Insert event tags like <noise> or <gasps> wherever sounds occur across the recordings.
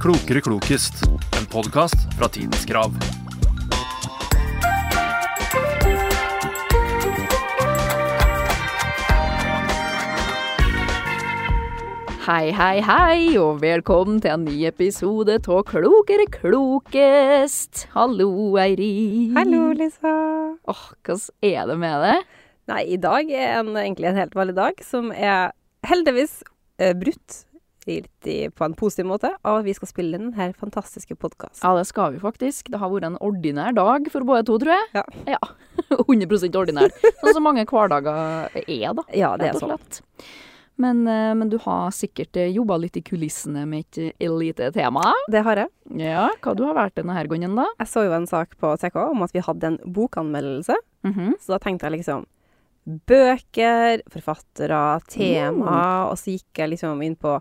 Klokere klokest, en podkast fra Tidens Krav. Hei, hei, hei, og velkommen til en ny episode av Klokere klokest. Hallo, Eirin. Hallo, Lisa. Åh, hvordan er det med det? Nei, i dag er en, egentlig en helt vanlig dag, som er heldigvis eh, brutt litt i, på en positiv måte, av at vi skal spille inn denne fantastiske podkasten. Ja, det skal vi faktisk. Det har vært en ordinær dag for både to, tror jeg. Ja. <laughs> 100 ordinær. Sånn som mange hverdager er, da. Ja, rett det er og sånn. slett. Men, eh, men du har sikkert eh, jobba litt i kulissene med et eh, lite tema. Det har jeg. Ja, hva du har vært denne her gangen, da? Jeg så jo en sak på TK om at vi hadde en bokanmeldelse, Mhm. så da tenkte jeg liksom Bøker, forfattere, tema, og så gikk jeg liksom inn på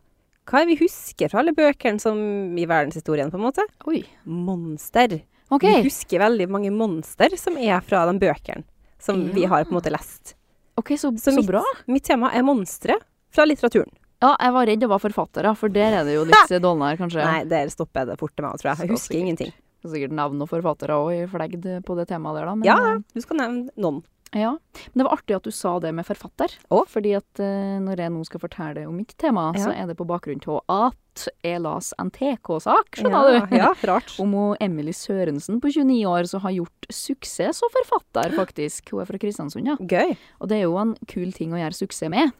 hva er vi husker fra alle bøkene som i verdenshistorien, på en måte? Oi. Monster. OK. Vi husker veldig mange monster som er fra de bøkene som vi har på en måte lest. Ok, så, Så, så, mitt, bra. mitt tema er monstre fra litteraturen. Ja, jeg var redd det var forfattere, for der er det jo litt dolnere, kanskje. <laughs> Nei, der stopper jeg det fort til meg, tror jeg. Jeg Så husker sikkert. ingenting. Det er Sikkert navn og forfattere òg i flegd på det temaet der, da. Men, eh, Ja, ja, du skal nevne noen. ja. Men det var artig at du sa det med forfatter. Å? Fordi at eh, når jeg nå skal fortelle om mitt tema, Ja. så er det på bakgrunn av at jeg las en TK-sak, skjønner Ja, du? <laughs> ja, rart. <laughs> Om hun Emily Sørensen på 29 år som har gjort suksess som forfatter, faktisk. Hun er fra Kristiansund, ja. Gøy. Og det er jo en kul ting å gjøre suksess med.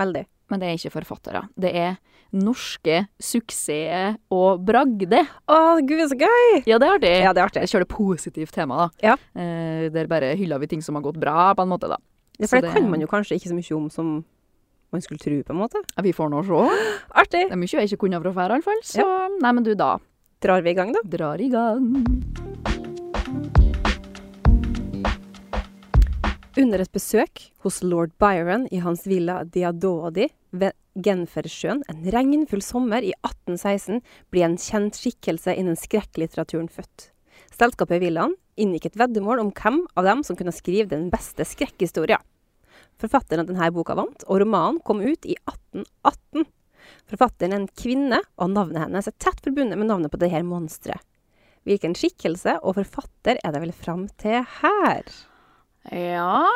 Veldig. Men det er ikke forfattere. Det er norske suksesser og bragder. Å, gud, så gøy! Ja, det er artig. Ja, det er artig. Jeg kjører det positivt tema, da. Ja. Eh, der bare hyller vi ting som har gått bra, på en måte, da. Ja, Så For det kan man jo kanskje ikke så mye om som man skulle tro, på en måte. Ja, Vi får nå se. Artig! Det er mye jeg ikke kunne fra før, iallfall. Så nei, men du, da. Drar vi i gang, da? Drar i gang. Under et besøk hos lord Byron i hans villa Diadodi ved Genfersjøen en regnfull sommer i 1816 ble en kjent skikkelse innen skrekklitteraturen født. Selskapet Villaen inngikk et veddemål om hvem av dem som kunne skrive den beste skrekkhistoria. Forfatteren av denne boka vant, og romanen kom ut i 1818. Forfatteren er en kvinne, og navnet hennes er tett forbundet med navnet på dette monsteret. Hvilken skikkelse og forfatter er det vel fram til her? Ja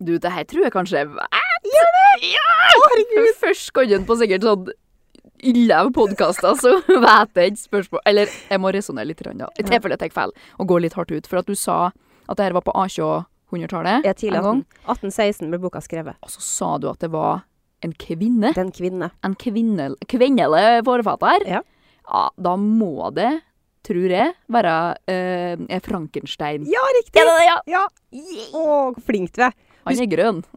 Du, det her tror jeg kanskje er Ja! Herregud! Først går den på sikkert sånn ille podkaster, så <laughs> vet jeg ikke spørsmål Eller jeg må resonnere litt, grann, da. i tilfelle jeg tar feil, og går litt hardt ut. For at du sa at det her var på A200-tallet Ja, tidlig en gang. 18. 1816 ble boka skrevet. Og så sa du at det var en kvinne. Det er en kvinne. En kvinne, kvinnelig forfatter. Ja. Ja, da må det, tror jeg, være eh, Frankenstein. Ja, Er riktig! det det, ja? Ja. Å, hvor flink du er. Han er grønn. <laughs>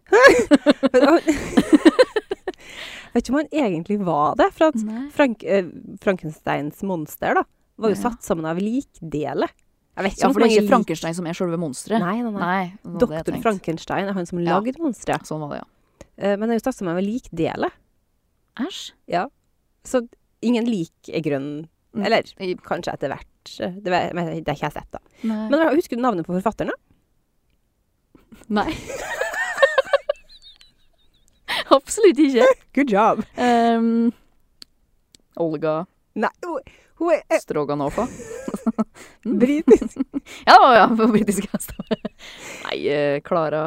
Vet ikke om han egentlig var det. For at Nei. Frank, eh, Frankensteins monster da, var jo Ja. satt sammen av likdeler. Jeg vet ikke Ja, om for det er mange ikke Frankenstein som er selve monsteret. Nei, nei, det nei. var det jeg Doktor tenkte. Frankenstein er han som Ja. lagde monsteret. Sånn var det, ja. Eh, Men det er jo satt sammen av likdeler. Æsj. Så ingen lik er grønn. Mm. Eller I- kanskje etter hvert. Det vet det har ikke jeg sett, da. Nei. Men husker du navnet på forfatteren? da? nei. <laughs> Absolutt ikke. Good job! Ehm, Olga Nei, hun- hun er eh, Stroganova. britisk. Ja, ja, på britisk hest. <laughs> Nei, eh, Klara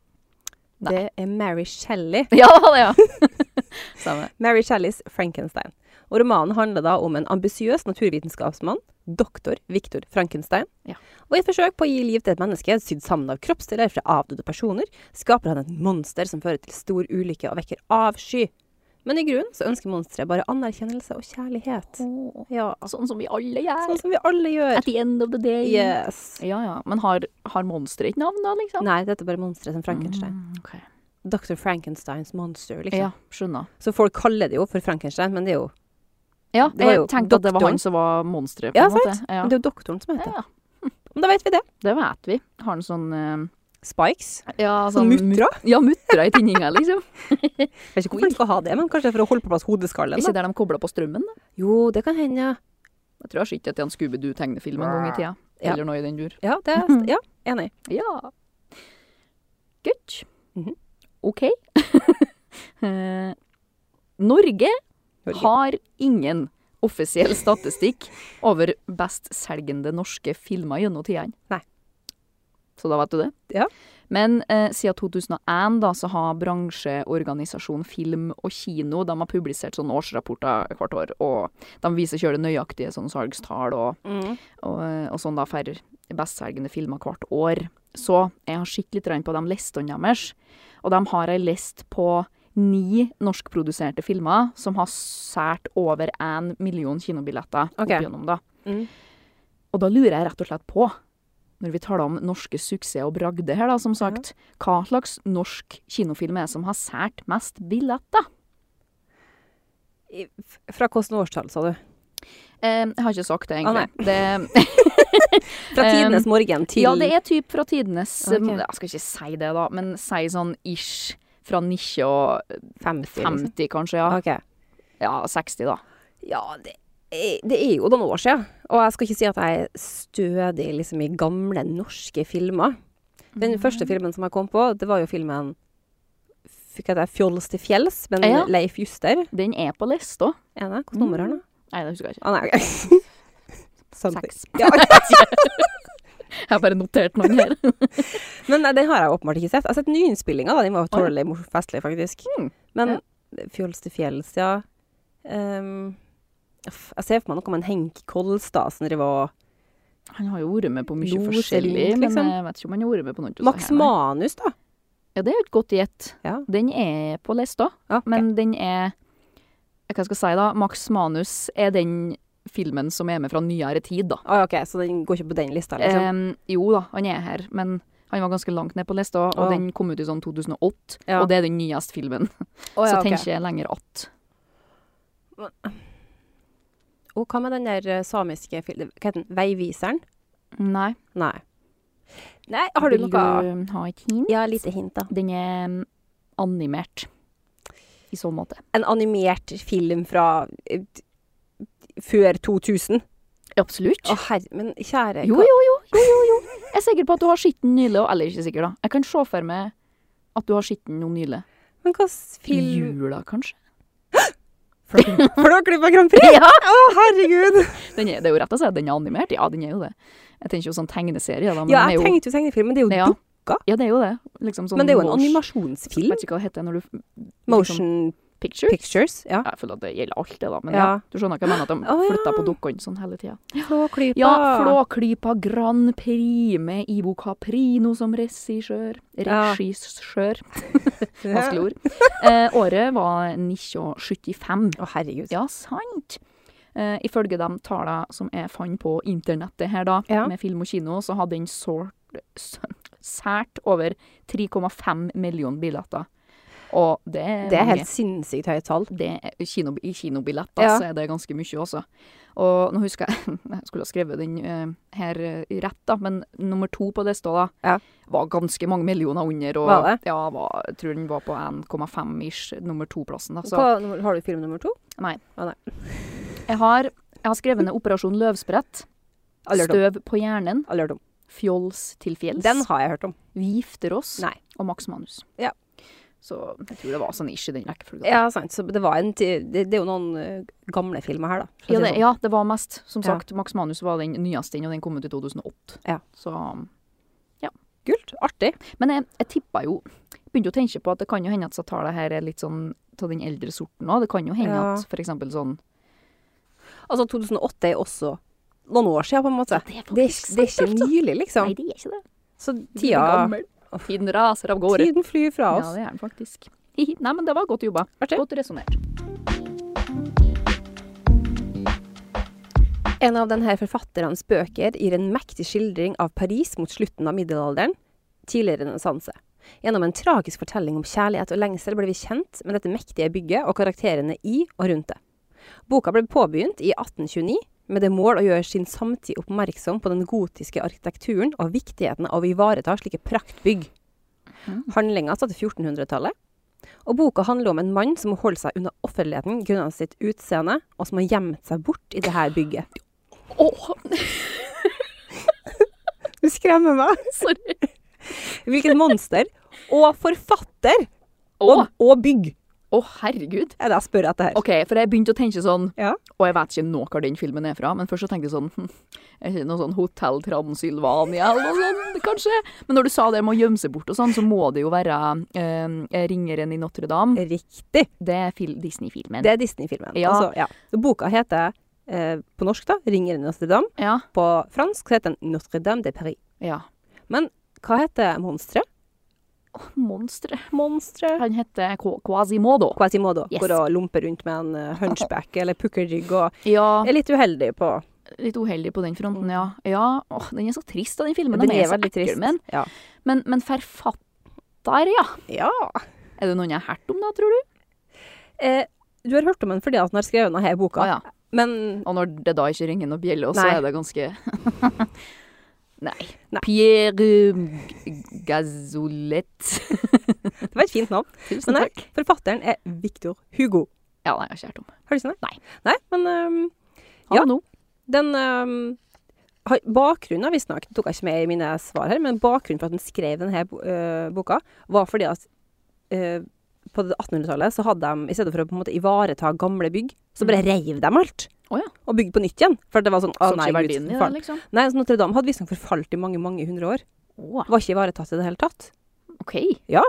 <laughs> <laughs> Nei. Det er Mary Shelley. Ja, det var det, ja! <laughs> Stemmer. Mary Shelleys Frankenstein. Og romanen handler da om en ambisiøs naturvitenskapsmann, doktor Victor Frankenstein. Ja. Og i et forsøk på å gi liv til et menneske sydd sammen av kroppsdeler fra avdøde personer, skaper han et monster som fører til stor ulykke og vekker avsky. Men i grunnen så ønsker monsteret bare anerkjennelse og kjærlighet. Ja, Sånn som vi alle gjør. sånn som vi alle gjør. At the end of the day. Yes. Ja, ja. Men har, har monsteret et navn, da, liksom? Nei, dette er bare monsteret som Frankenstein. Mm, ok. Dr. Frankensteins monster, liksom. Ja, skjønner. Så folk kaller det jo for Frankenstein, men det er jo, Ja, Det var jeg jo tenkte at det var doktoren. han som var monsteret, på Ja, en måte. Ja, men det er jo doktoren som heter det. ja, Men da vet vi det. det vet vi. Har han sånn eh, Spikes. Ja, Sånn muttra. Altså, mut- Ja, mutra i tinninga, liksom. Jeg vet ikke hvorfor de skal ha det, men kanskje for å holde på plass hodeskallen? Ikke der de kobla på strømmen, da. Jo, det kan hende, ja. Jeg tror jeg har sett det til en Scooby-Doo-tegnefilm en gang i tida. Ja. Eller noe i den dur. Ja, det er, Mhm. ja enig. Ja. Good. Mhm. <laughs> OK. Eh, Norge Norge. har ingen offisiell statistikk over bestselgende norske filmer gjennom tidene. Nei. Så da vet du det. Ja. Men eh, siden 2001 da, så har bransjeorganisasjonen Film og Kino de har publisert sånne årsrapporter hvert år. Og de viser kjøle nøyaktige sånne salgstall og og, og sånn da for bestselgende filmer hvert år. Så jeg har sett litt grann på de listene deres, og de har ei list på ni norskproduserte filmer som har sært over én million kinobilletter Ok. opp gjennom da. Mm. Og da lurer jeg rett og slett på, når vi taler om norske suksess og bragder her, da, som sagt, hva slags norsk kinofilm er det som har sært mest billetter? I- f- Fra hvilket årstall, sa du? Eh, jeg har ikke sagt det, Å, egentlig. det, Fra Um, tidenes morgen til Ja, det er typ fra tidenes Ok. eh, Jeg skal ikke si det, da, men si sånn ish fra 19 og 50. Liksom. 50, kanskje. Ja, Ok. ja 60, da. Ja, det er, det er jo noen år siden. Og jeg skal ikke si at jeg er stødig liksom, i gamle norske filmer. Mm. Den første filmen som jeg kom på, det var jo filmen Fikk jeg det Fjols til fjells, men Ja. Leif Juster. Den er på lista. Er det? Hvilket nummer er den? Nei, det husker jeg ikke. Å Ah, <laughs> nei, ok. Something. Seks. Ja, <laughs> Jeg har bare notert noen her. men nei, den har jeg åpenbart ikke sett. Jeg har sett nyinnspillinga, da. Den var Å, jo ja. tålelig mor- festlig, faktisk. Mm. Men Fjols til fjells, ja. Ehm, uff, jeg ser for meg noe om en Henk Kolstad som driver og Han har jo vært med på mye Los forskjellig, Elink, liksom. men eh, jeg vet ikke om han har vært med på noen av Max disse her, nei. Manus, da. Ja, det er jo et godt gjett. Ja. Den er på lista, Ja, ok. men den er eh, Hva skal jeg si, da? Max Manus er den filmen som er med fra nyere tid, da. Å, Ah, ja, ok, så den går ikke på den lista, liksom? Em, jo da, han er her, men han var ganske langt ned på lista, og Å. den kom ut i sånn 2008, Ja. og det er den nyeste filmen. Å, ja, så ok. tenker jeg lenger att. Og hva med den der eh, samiske filmen Hva heter den? Veiviseren? Nei. Nei. Nei, har du Vil noe du ha et hint? Ja, lite hint, da. Den er em, animert. I så måte. En animert film fra eh, før 2000? Absolutt. Å herre Men kjære jo, hva- jo, jo, jo, jo, jo. Jeg er sikker på at du har sett den nylig, og eller ikke sikker, da. Jeg kan se for meg at du har sett den noe nylig. <laughs> Men hva slags I <laughs> film jula, kanskje? Flåklypa Grand Prix? Ja! Å, herregud! Den er, det er jo rett å si at den er animert. Ja, den er jo det. Jeg tenker jo sånn tegneserie, da. Men Ja, den er jeg jo, tenkte jo tegnefilm, men det er jo Ja. dukk. ja, det er jo det. Liksom sånn Men det er jo en mors- animasjonsfilm. Vet ikke hva det heter når du liksom, Motion Picture? Pictures. Ja. Ja, Jeg føler at det gjelder alt det, da. Men ja. Ja. du skjønner hva jeg mener, at de Å, ja. flytta på dukkene sånn hele tida. Flåklypa. Ja, Flåklypa Grand Prix med Ivo Caprino som regissør. Ja. Regissør, Ja. vanskelig <laughs> ord. Eh, året var 1975. Å, herregud. Ja, sant! Eh, ifølge de tallene som jeg fant på internettet her, da, Ja. med film og kino, så hadde den sort, s- sært over 3,5 millioner billetter. Og det er Det er mange. helt sinnssykt høye tall. det er kino, I kinobilletter Ja. så er det ganske mye også. Og nå husker jeg <laughs> Jeg skulle ha skrevet den eh, her eh, rett, da, men nummer to på lista da, Ja. var ganske mange millioner under. Og, Var det? Ja, var, jeg tror den var på 1,5-ish, nummer to-plassen. da. Så Hva, har du film nummer to? jeg har, jeg har skrevet ned 'Operasjon løvsprett', Aldri hørt om. 'Støv på hjernen', Aldri hørt om. 'Fjols til fjells', Den har jeg hørt om. 'Vi gifter oss' Nei. og 'Max Manus'. Ja. Så jeg tror det var sånn ish i den rekkefølgen. Ja, sant. Så det, var en, ti- det, det er jo noen eh, gamle filmer her, da. Ja det, sånn. ja, det var mest. Som Ja. sagt, Max Manus var den nyeste inn, og den kom ut i 2008. Ja. Så, sånn. Kult. Artig. men jeg, jeg tippa jo Begynte å tenke på at det kan jo hende at Satala her er litt sånn av den eldre sorten òg. Det kan jo hende Ja. at for eksempel sånn Altså, 2008 er også noen år siden, på en måte. Det er Det er, det er ikke nylig, liksom. Nei, det er ikke det. Så Du blir tida gammel. Tiden raser av gårde. Tiden flyr fra Ja, oss. det er den faktisk. <laughs> Hihi. Nei, men det var godt jobba. Artig. Godt resonnert. En av denne forfatterens bøker gir en mektig skildring av Paris mot slutten av middelalderen, tidligere renessanse. Gjennom en tragisk fortelling om kjærlighet og lengsel ble vi kjent med dette mektige bygget og karakterene i og rundt det. Boka ble påbegynt i 1829 med det mål å gjøre sin samtid oppmerksom på den gotiske arkitekturen og viktigheten av å ivareta slike praktbygg. Handlinga satt til 1400-tallet, og boka handler om en mann som må holde seg unna offentligheten grunnet sitt utseende, og som har gjemt seg bort i det her bygget. Åh, Du skremmer meg. <laughs> sorry. Hvilket monster og forfatter Åh, og, og bygg. Å, herregud. Er det jeg spør etter her? OK, for jeg begynte å tenke sånn, Ja. og jeg vet ikke nå hvor den filmen er fra, men først så tenkte jeg sånn hm, Er ikke det noe sånn Hotell Transylvania eller noe sånt, kanskje? Men når du sa det med å gjemme seg bort og sånn, så må det jo være eh, 'Ringeren i Notre-Dame'. Riktig. Det er fil Disney-filmen. Det er Disney-filmen. Ja. Altså, ja. Så Boka heter eh, på norsk da, 'Ringeren i Notre-Dame'. Ja. På fransk så heter den 'Notre-Dame de Paris'. ja. Men hva heter monsteret? Monstre. Monsteret Han heter Qua- Quasimodo. Quasimodo Yes. går og lomper rundt med en eh, hunchback eller pukkelrygg og Ja, er litt uheldig på litt uheldig på den fronten, ja. ja. Åh, den er så trist, da, den filmen. Den Den er er så veldig trist. ekkel, men, Ja. men, men forfatter, ja. Ja. Er det noen jeg har hørt om, da, tror du? Eh, du har hørt om den fordi at den har skrevet denne boka, Å, ja. men Og når det da ikke ringer noen bjelle, så Nei. er det ganske <laughs> Nei. Nei. Pierre eh, Gazolet. det var et fint navn. Tusen Men nei, takk. forfatteren er Victor Hugo. Ja, nei, jeg har ikke hørt om Har du ikke det? Nei. Nei, men ehm, Han Ja. nå. Den ehm, har- Bakgrunnen, visstnok, det tok jeg ikke med i mine svar her, men bakgrunnen for at den skrev denne bo- øh, boka, var fordi at øh, på det 1800-tallet så hadde de, i stedet for å på en måte ivareta gamle bygg, så bare reiv de alt. Mm. Å ja. Og bygde på nytt igjen. For det var sånn, å Så nei, ikke Gud, verdien i det, forfall. liksom. Nei, så Notre-Dame hadde visstnok forfalt i mange, mange hundre år. Å, Var ikke ivaretatt i det hele tatt. OK. Ja.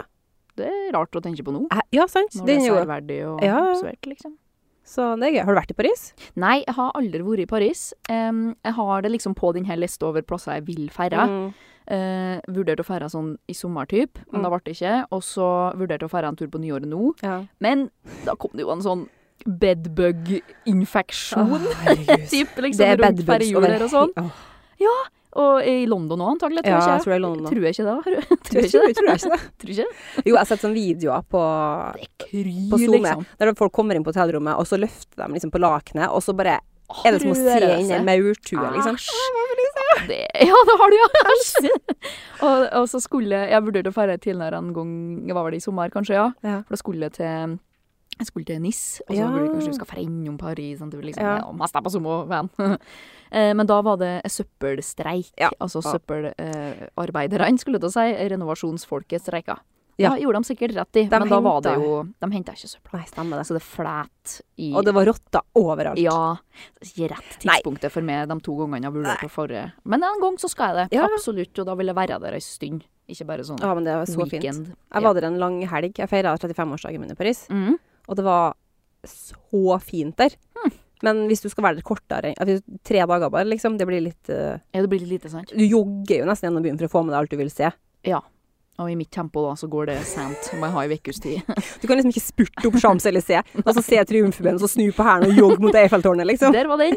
Det er rart å tenke på nå. Eh, Ja, sant? Når det er Den er jo særverdig og Ja, ja. observert, liksom. Så det er gøy. Har du vært i Paris? Nei, jeg har aldri vært i Paris. Em, jeg har det liksom på denne lista over plasser jeg vil feire. Mm. Eh, vurderte å feire sånn i sommer, typ, men da ble det ikke. Og så vurderte jeg å feire en tur på nyåret nå. Ja. Men da kom det jo en sånn <laughs> bedbug-infeksjon. Å, herregud. Typ, liksom, Ah. det er rundt bedbugs ferjehjul over der og sånn. he- Åh. Og i London òg, antagelig. Tror Ja, jeg jeg ikke. tror det er <laughs> London. Tror jeg ikke det. Tror jeg ikke Tror det. tror jeg ikke det. Tror jeg ikke det. <laughs> Jo, jeg har sett sånne videoer på, Det kryr, på Zoom, liksom. der folk kommer inn på hotellrommet, og så løfter de liksom på lakenet, og så bare er det som å se Rører inn i seg. Ah, en maurtue, liksom. Ja, Ah, det, <laughs> ja, det har du, <laughs> ja. Æsj. <laughs> og, og så skulle jeg Jeg vurderte å feire tidligere en gang, var vel i sommer, kanskje, ja. Ja. For da skulle jeg til jeg skulle til Nice, og så Ja. burde jeg kanskje vi skal feire innom Paris. Sant? Det blir liksom, Ja. ja. mest er på sommer, venn. Eh, Men <laughs> da var det søppelstreik. Ja. Altså Ja. søppelarbeiderne, skulle jeg til å si. Renovasjonsfolket streika. Ja. Da gjorde de sikkert rett i, De men da var det hentet- jo De henta ikke søpla. Nei, stemmer det. Så det flæt i Og det var rotter overalt. ja. det er Ikke rett Nei. tidspunktet for meg de to gangene jeg har vurdert å forre. Men en gang så skal jeg det. Ja. Absolutt. Og da vil jeg være der ei stund. Ikke bare sånn Ja, men det var så fint. weekend. Jeg var der en lang helg. Jeg feira 35-årsdagen min i Paris, Mm. og det var så fint der. Hm. Men hvis du skal være der kortere enn altså, tre dager bare, liksom, det blir litt eh, Ja, det blir litt lite, sant? Du jogger jo nesten gjennom byen for å få med deg alt du vil se. Ja. Og i mitt tempo da, så går det sent. Må jeg ha ei ukes <laughs> tid. Du kan liksom ikke spurte opp Champs-Élysées, og så se Triumfbuen, og så snu på hælen og jogge mot Eiffeltårnet, liksom. Der var den.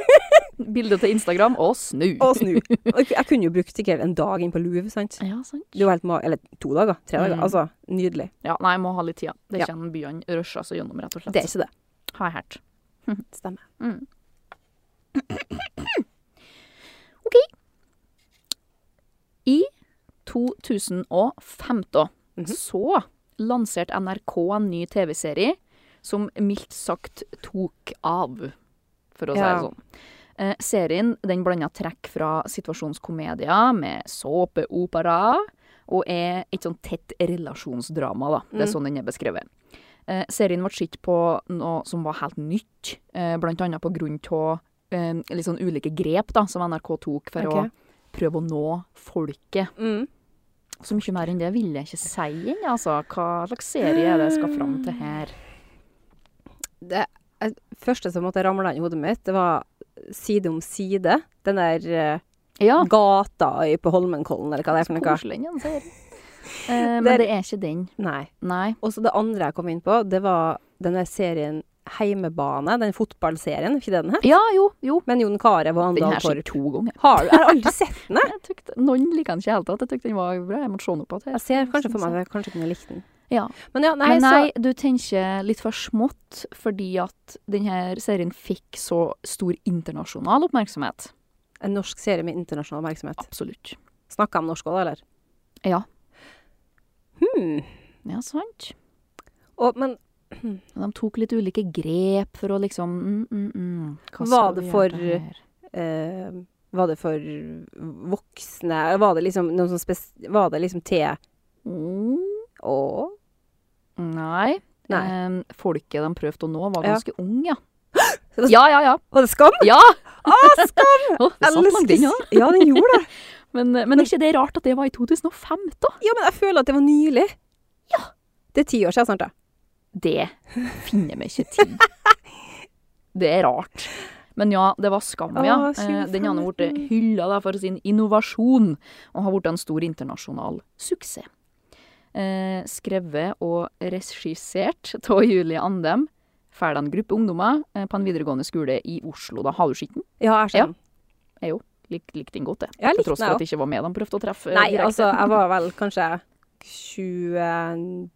Bildet til Instagram. Og snu. Og snu. Og jeg jeg kunne jo brukt sikkert en dag inn på Louvre, sant. Ja, sant. Det er jo helt ma... Eller to dager. Tre dager. Mm. Altså, nydelig. Ja, nei, jeg må ha litt tid. Det Ja. er ikke en byene rusher seg gjennom, rett og slett. Det er ikke det. Har jeg hørt. Stemmer. I 2015 Mhm. så lanserte NRK en ny TV-serie som mildt sagt tok av, for å si Ja. det sånn. Eh, serien den blander trekk fra situasjonskomedier med såpeopera, og er et sånn tett relasjonsdrama, da. Mhm. Det er sånn den er beskrevet. Eh, serien ble sett på noe som var helt nytt, eh, blant annet på grunn av eh, litt sånn ulike grep da, som NRK tok for Ok. å prøve å nå folket. Mm. Så mye mer enn det vil jeg ikke si ennå, altså. Hva slags serie er det jeg skal fram til her? Det jeg- første som måtte ramle inn i hodet mitt, det var Side om side. Den der eh, Ja, gata i- på Holmenkollen, eller hva det er så for noe. koselig den serien. <laughs> Eh, Der- men det er ikke den. Nei. Nei. Og så det andre jeg kom inn på, det var den der serien Heimebane, den fotballserien, ikke det den her? Ja, jo, jo. Men Jon Carew og Den Andal her ser Torp. jeg to ganger. Har du? Jeg har aldri sett den, jeg. Jeg tykte, noen liker den ikke helt, at jeg tykte den var bra. Jeg måtte se den opp igjen. Jeg ser kanskje for meg at jeg kanskje kunne likt den. Ja. Men ja, nei, sånn, Men nei, du tenker litt for smått, fordi at denne serien fikk så stor internasjonal oppmerksomhet. så En norsk serie med internasjonal oppmerksomhet. Absolutt. Snakka om norsk òg, eller? Ja. Hmm. Ja, sant. Og, men De tok litt ulike grep for å liksom mm, mm, mm. Hva Var skal det vi for- gjøre her? eh, var det for voksne eller Var det liksom noen som spes... Var det liksom te Mm. og Nei. Nei. Em, folket de prøvde å nå, var Ja. ganske ung, <gasps> ja. det- Ja, ja, ja. Var det skam? ja. Ah, skam! <laughs> Å, det satt langt inne, da. Ja, den gjorde det. Men, men er ikke det rart at det var i 2005, da? Ja, men jeg føler at det var nylig. Ja. Det er ti år siden snart, da. Det finner vi ikke til. Det er rart. Men ja, det var skam, ja. Å, Eh, Den har nå blitt 2015. hylla da, for sin innovasjon, og har blitt en stor internasjonal suksess. Eh, skrevet og regissert av Julie Andem. Ferdig en gruppe ungdommer eh, på en videregående skole i Oslo. Da har du sett den? Ja, jeg skjønner. Lik, likte den godt, det. Jeg Til likte tross den, for jeg at det ikke var med de prøvde å treffe. eh, Nei, direkte. altså, jeg var vel kanskje 26,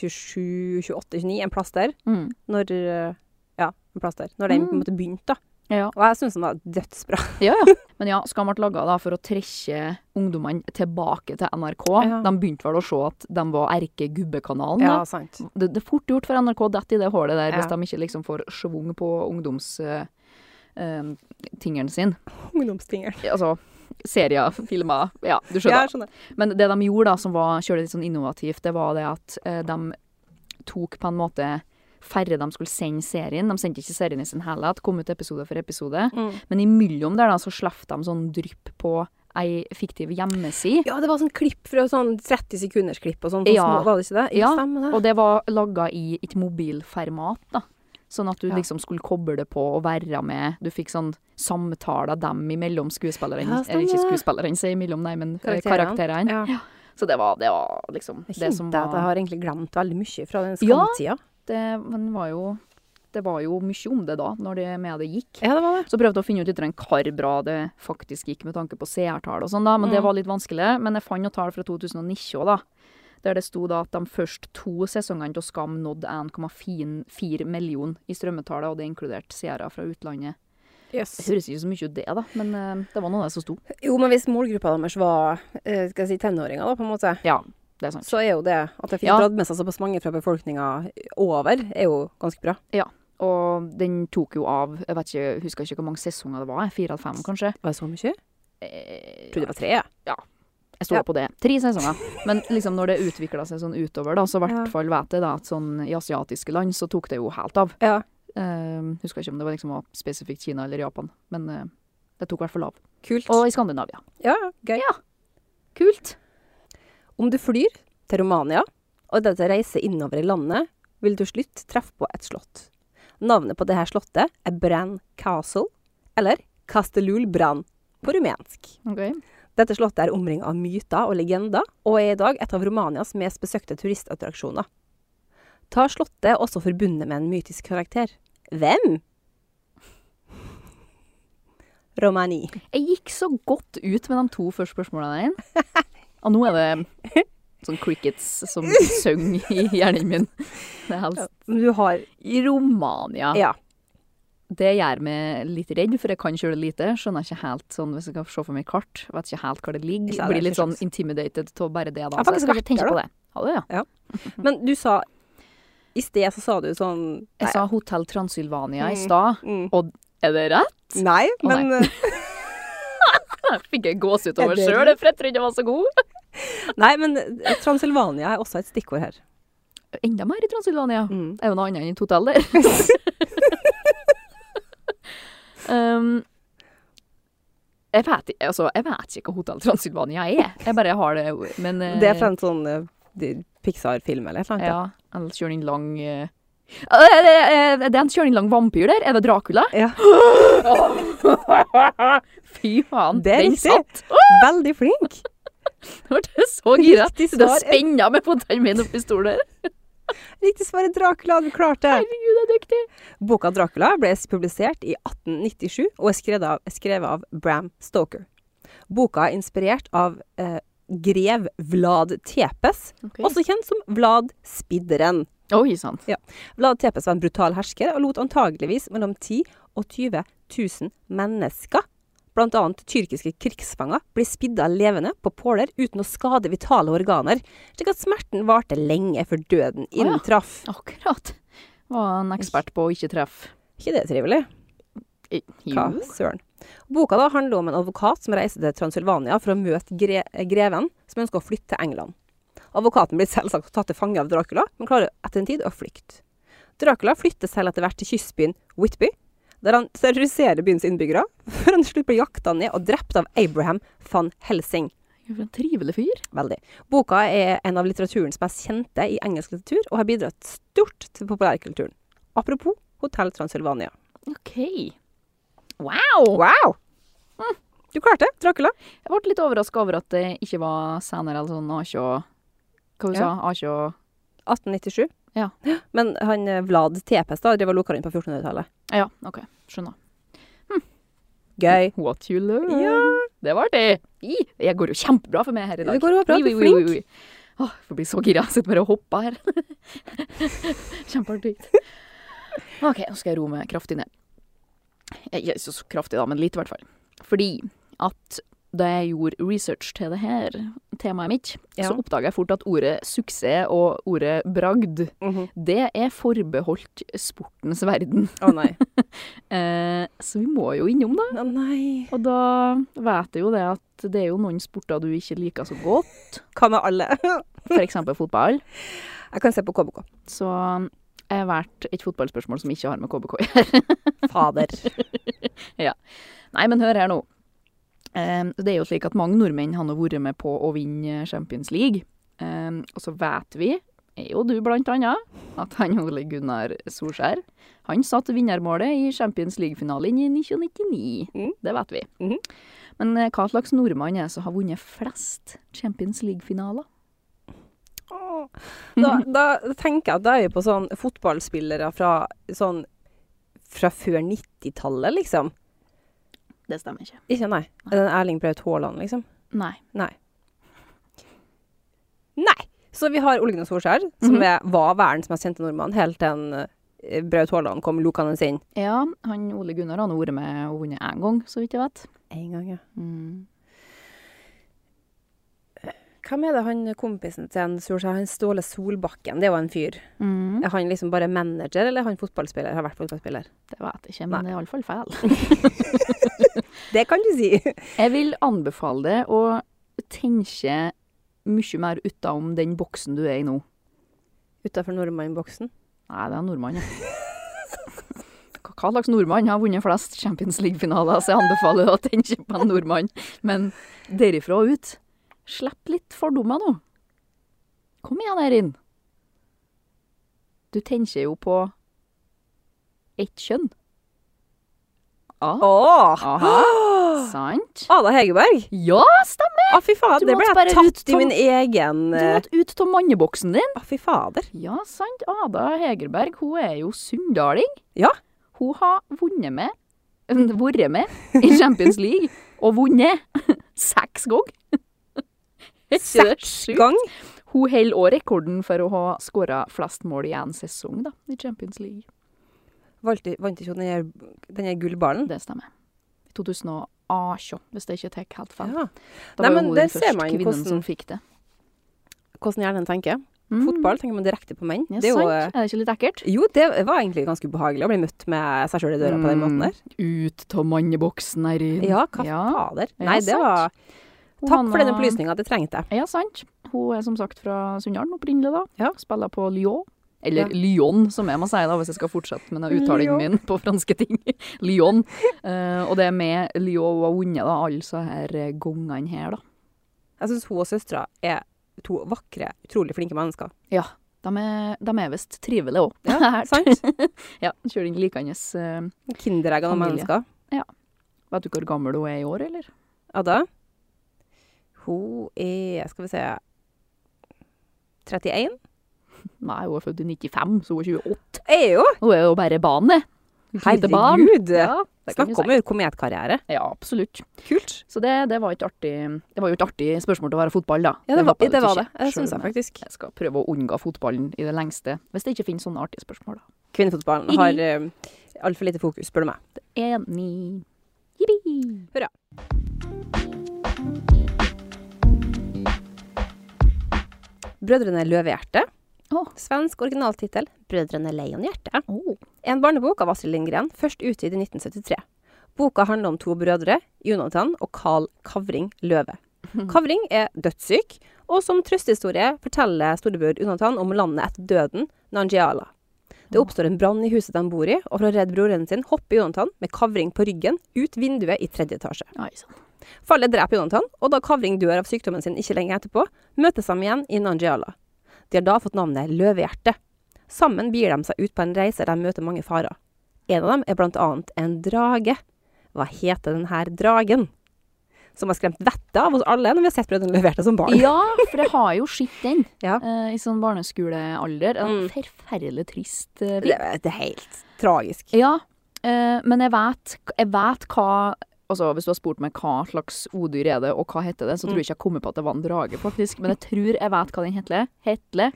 27, 28, 29, en plass der. Mm. Når eh, Ja, en plass der. Når den på en Mm. måte begynte, da. Ja, ja. Og jeg syns den var dødsbra. Ja, ja. Men ja, Skam ble laga for å trekke ungdommene tilbake til NRK. Ja. De begynte vel å se at de var erkegubbekanalen. Ja, da. <laughs> sant. Det, det er fort gjort for NRK å dette i det hullet der, hvis Ja. de ikke liksom får schwung på ungdomstingeren sin. Ungdomstinger. Altså serier, filmer, ja, du Ja, skjønner. jeg skjønner. Men det de gjorde da, som var kjølig litt sånn innovativt, det var det at eh, de tok på en måte færre de skulle sende serien. De sendte ikke serien i sin helhet, kom ut episode for episode. Mm. Men imellom der da, så slapp de sånn drypp på ei fiktiv hjemmeside. Ja, det var sånn klipp fra sånn 30 sekunders klipp og sånn. sånn Ja. små- Var det ikke det? Ja, stemmer det. Og det var laga i et mobilformat, da. Sånn at du Ja. liksom skulle koble det på og være med. Du fikk sånn samtaler dem imellom skuespillerne. Ja, Eller stemmer ikke det. skuespillerne, sier imellom, nei, men eh, Karakterene. karakterene. Ja. Så det var, det var liksom Jeg det som kjente at jeg var har egentlig glemt veldig mye fra den Ja. skamtida. det, Men var jo Det var jo mye om det da, når det med det gikk. Ja, det var det. Så prøvde jeg å finne ut litt grann hvor bra det faktisk gikk med tanke på seertall og sånn, da, men det Mm. var litt vanskelig. Men jeg fant noen tall fra 2019 òg, da. Der det sto da at de første to sesongene av Skam nådde 1,4 million i strømmetallet, og det inkluderte seere fra utlandet. Det Yes. høres ikke så mye ut det, da, men eh, det var noe av det som sto. Jo, men hvis målgruppa deres var eh, skal jeg si, tenåringer, da, på en måte, Ja, det er sant. så er jo det at jeg fikk Ja. dratt med seg såpass mange fra befolkninga over, er jo ganske bra. Og den tok jo av, jeg vet ikke, jeg husker ikke hvor mange sesonger det var, jeg, fire eller fem kanskje. Var det så mye? Jeg Eh, trodde det var tre. jeg. Jeg stoler Ja. på det. Tre sesonger. Men liksom når det utvikla seg sånn utover, da, så i hvert Ja. fall vet jeg da at sånn i asiatiske land så tok det jo helt av. Ja. Eh, husker ikke om det var liksom var spesifikt Kina eller Japan, men eh, det tok i hvert fall av. Kult. Og i Skandinavia. ja, ja, gøy. Kult. Om du flyr til Romania, og deretter reiser innover i landet, vil du slutt treffe på et slott. Navnet på dette slottet er Bran Castle, eller Castellul Bran på rumensk. Ok. Dette slottet er omringet av myter og legender, og er i dag et av Romanias mest besøkte turistattraksjoner. Ta slottet er også forbundet med en mytisk karakter. Hvem? Romani. Jeg gikk så godt ut med de to første spørsmålene dine. Og nå er det sånn crickets som synger i hjernen min. Det er helst Men Du har I Romania. Ja. Det gjør meg litt redd, for jeg kan kjøre lite. Skjønner ikke helt sånn, Hvis jeg kan se for meg kart, vet ikke helt hvor det ligger. Ja, det er Blir litt ikke sånn sjans. intimidated av bare det, da. så jeg har faktisk skal vært ikke tenke der, på det. Ha det, ja. Men du sa I sted så sa du sånn Jeg sa Hotell Transylvania i Mm. stad. mm, Er det rett? Nei, Å, nei. men eh, Jeg fikk jeg gåsehud Er over det sjøl, for jeg trodde jeg var så god. <laughs> Nei, men eh, Transylvania er også et stikkord her. Enda mer i Transylvania. Mm. Det er jo noe annet enn et hotell der. <laughs> um, jeg vet, ikke- altså, jeg vet ikke hva Hotell Transylvania er. Jeg bare har det men, eh, Det er fra en sånn eh, de- Pixar-film eller et eller annet. Ja, eller kjører inn lang eh, Ah, eh, eh, eh, Det er en kjører inn lang vampyr der. Er det Dracula? Ja. <gasps> Fy faen, Det er den riktig. satt! Ah, Veldig <laughs> flink! Nå ble jeg så gira. Det Riktig <laughs> svar er- spenna med fotene mine oppi stolen der. Riktig svar er Dracula, du klarte det! Herregud, jeg er dyktig. Boka 'Dracula' ble publisert i 1897 og er skrevet av, skrevet av Bram Stoker. Boka er inspirert av eh, grev Vlad Tepes, også kjent som Vlad Spidderen. Oi sann. Vlad Tepes var en brutal hersker og lot antageligvis mellom 10 og 20 000 mennesker, bl.a. tyrkiske krigsfanger, bli spidda levende på påler uten å skade vitale organer, slik at smerten varte lenge før døden ja. inntraff. Akkurat. Var en ekspert på å ikke treffe ikke det trivelig? Eh, Hva Jo. søren. Boka da handler om en advokat som reiser til Transylvania for å møte gre greven, som ønsker å flytte til England. Advokaten blir selvsagt tatt til fange av Dracula, men klarer etter en tid å flykte. Dracula flytter selv etter hvert til kystbyen Whitby, der han terroriserer byens innbyggere, før han til slutt blir jakta ned og drept av Abraham van Helsing. For en trivelig fyr. Veldig. Boka er en av litteraturens mest kjente i engelsk litteratur, og har bidratt stort til populærkulturen. Apropos Hotell Transylvania. OK. Wow! Wow! Hm, Du klarte det, Dracula. Jeg ble litt overraska over at det ikke var senere eller sånn Akjå Hva du sa du? Akjå 1897. Ja. Men han eh, Vlad Tepes da, drev og loka inn på 1400-tallet. Ja, OK. Skjønner. Gøy. What you learn. Ja. Det var artig. I, Det går jo kjempebra for meg her i dag. Det går jo bra, Oi, du er oi, oi, flink. oi, oi. Åh, jeg blir så gira. Jeg sitter bare og hopper her. <laughs> Kjempeartig. OK, nå skal jeg roe meg kraftig ned. Jeg- jeg er Ikke så kraftig, da, men litt, i hvert fall. Fordi at da jeg gjorde research til det her temaet mitt, Ja. så oppdaga jeg fort at ordet suksess og ordet bragd, Mhm. det er forbeholdt sportens verden. Å nei. Eh, så vi må jo innom, da. Å nei. Og da vet jeg jo det at det er jo noen sporter du ikke liker så godt, Hva med alle? Jeg f.eks. fotball. kan se på KBK. Så jeg har valgt et fotballspørsmål som ikke har med KBK å gjøre. <laughs> Fader. Nei, men hør her nå. Eh, Det er jo slik at mange nordmenn har nå vært med på å vinne Champions League. Eh, Og så vet vi, er jo du blant annet, at han Ole Gunnar Solskjær, han satte vinnermålet i Champions League-finalen i 1999. Mm. Det vet vi. Mhm. Men eh, hva slags nordmann er det som har vunnet flest Champions League-finaler? Åh. Da, da tenker jeg at da er vi på sånn fotballspillere fra sånn fra før 90-tallet, liksom. Det stemmer ikke. Ikke nei. Er det en Erling Braut Haaland, liksom? Nei. Nei. Nei. Så vi har Ole Gunnar Solskjær, som Mhm. er, var verdens mest kjente nordmann helt til en, eh, Braut Haaland kom lokende inn. Ja, han Ole Gunnar han har vært med og vunnet én gang, så vidt jeg vet. En gang, ja. Hvem er det han kompisen til en Solskjær? Han Ståle Solbakken, det er jo en fyr. Mm. Er han liksom bare manager, eller er han fotballspiller? Har vært fotballspiller. Det vet jeg ikke, men Nei. det er iallfall feil. Det kan du <laughs> si. Jeg vil anbefale deg å tenke mye mer utenom den boksen du er i nå. Utafor nordmannboksen. Nei, det er nordmann, ja. Hva hva slags nordmann har vunnet flest Champions League-finaler, så jeg anbefaler deg å tenke på en nordmann. Men derifra og ut, slipp litt fordommer nå. Kom igjen, Erin. Du tenker jo på ett kjønn. Ah, Åh! aha, sant? Ada Hegerberg! Ja, stemmer! Å, fy faen, Du det ble måtte jeg bare ut tatt i som- min egen Du eh, måtte ut av manneboksen din. Å, fy fader. Ja, sant. Ada Hegerberg, hun er jo sunndaling. Ja. Hun har vunnet med, <laughs> vært med i Champions League, og vunnet <laughs> seks <laughs> ganger. Er ikke det sjukt? Gang. Hun holder også rekorden for å ha skåra flest mål i én sesong da, i Champions League. Valgte- Vant ikke hun den her- den her gullballen? Det stemmer. I 2018, hvis jeg ikke tar helt feil. Ja. Da Nei, var men jo hun der den ser første man kvinnen hvordan- som fikk det. Hvordan hjernen tenker. Mm. Fotball tenker man direkte på menn. Ja, det er jo, sant. Er det ikke litt ekkelt? eh, jo, det var egentlig ganske ubehagelig å bli møtt med seg sjøl i døra på Mm. den måten der. Ut av manneboksen, Eirin. Ja, hva fader. Nei, det var Hun Takk for Hanna- den opplysninga, det trengte jeg. Ja, sant. Hun er som sagt fra Sunndalen opprinnelig, da. Ja. Spiller på Lyon. Eller Ja. Lyon, som jeg må si, da, hvis jeg skal fortsette med den uttalingen Lyon. min på franske ting. <laughs> Lyon. Eh, og det er med Lyon hun har vunnet, da, alle så her eh, gangene her, da. Jeg syns hun og søstera er to vakre, utrolig flinke mennesker. Ja. De er, de er visst trivelige òg. <laughs> Ja, sant? ja, kjører inn likende eh, Kinderegg av Familie. mennesker. Vet du hvor gammel hun er i år, eller? Ada? Hun er Skal vi se 31? Nei, hun er født i 95, så hun er 28. Er jo! Hun er jo bare barn, det. Et lite barn. Herregud! Ja, det kan du Snakk om si. en kometkarriere. Ja, absolutt. Kult. Så det, det var et artig Det var jo et artig spørsmål til å være fotball, da. Ja, det var håper det. jeg du Var ikke- det. Jeg selv syns jeg om jeg- faktisk. Jeg skal prøve å unngå fotballen i det lengste, hvis det ikke finnes sånne artige spørsmål, da. Kvinnefotballen har eh, altfor lite fokus, spør du meg. Enig. Jippi. Hurra. Brødrene Løvehjerte. Å. Svensk originaltittel. Brødrene Leonhjerte. Oh. En barnebok av Astrid Lindgren, først utgitt i 1973. Boka handler om to brødre, Jonathan og Carl Kavring Løve. Kavring er dødssyk Og som trøstehistorie forteller storebror Unatan om landet etter døden, Nangiala. Det oppstår en brann i huset de bor i, og for å redde broren sin hopper Jonathan med kavring på ryggen ut vinduet i tredje etasje. Oi sann. Fallet dreper Jonathan, og da Kavring dør av sykdommen sin ikke lenge etterpå, møtes de igjen i Nangiala. De har da fått navnet Løvehjerte. Sammen begir de seg ut på en reise der de møter mange farer. En av dem er blant annet en drage. Hva heter denne dragen? Som har skremt vettet av oss alle når vi har sett Brødrene Løvehjerte som barn. Ja, <laughs> for jeg har jo sett den Ja. eh, i sånn barneskolealder. En Mm. forferdelig trist eh, <laughs> Det, det er helt tragisk. Ja, eh, men jeg vet, jeg vet hva Altså, Hvis du har spurt meg hva slags odyr er det, og hva heter det, så Mm. tror jeg ikke jeg kommer på at det var en drage, faktisk. Men jeg tror jeg vet hva den hetle. Hetle.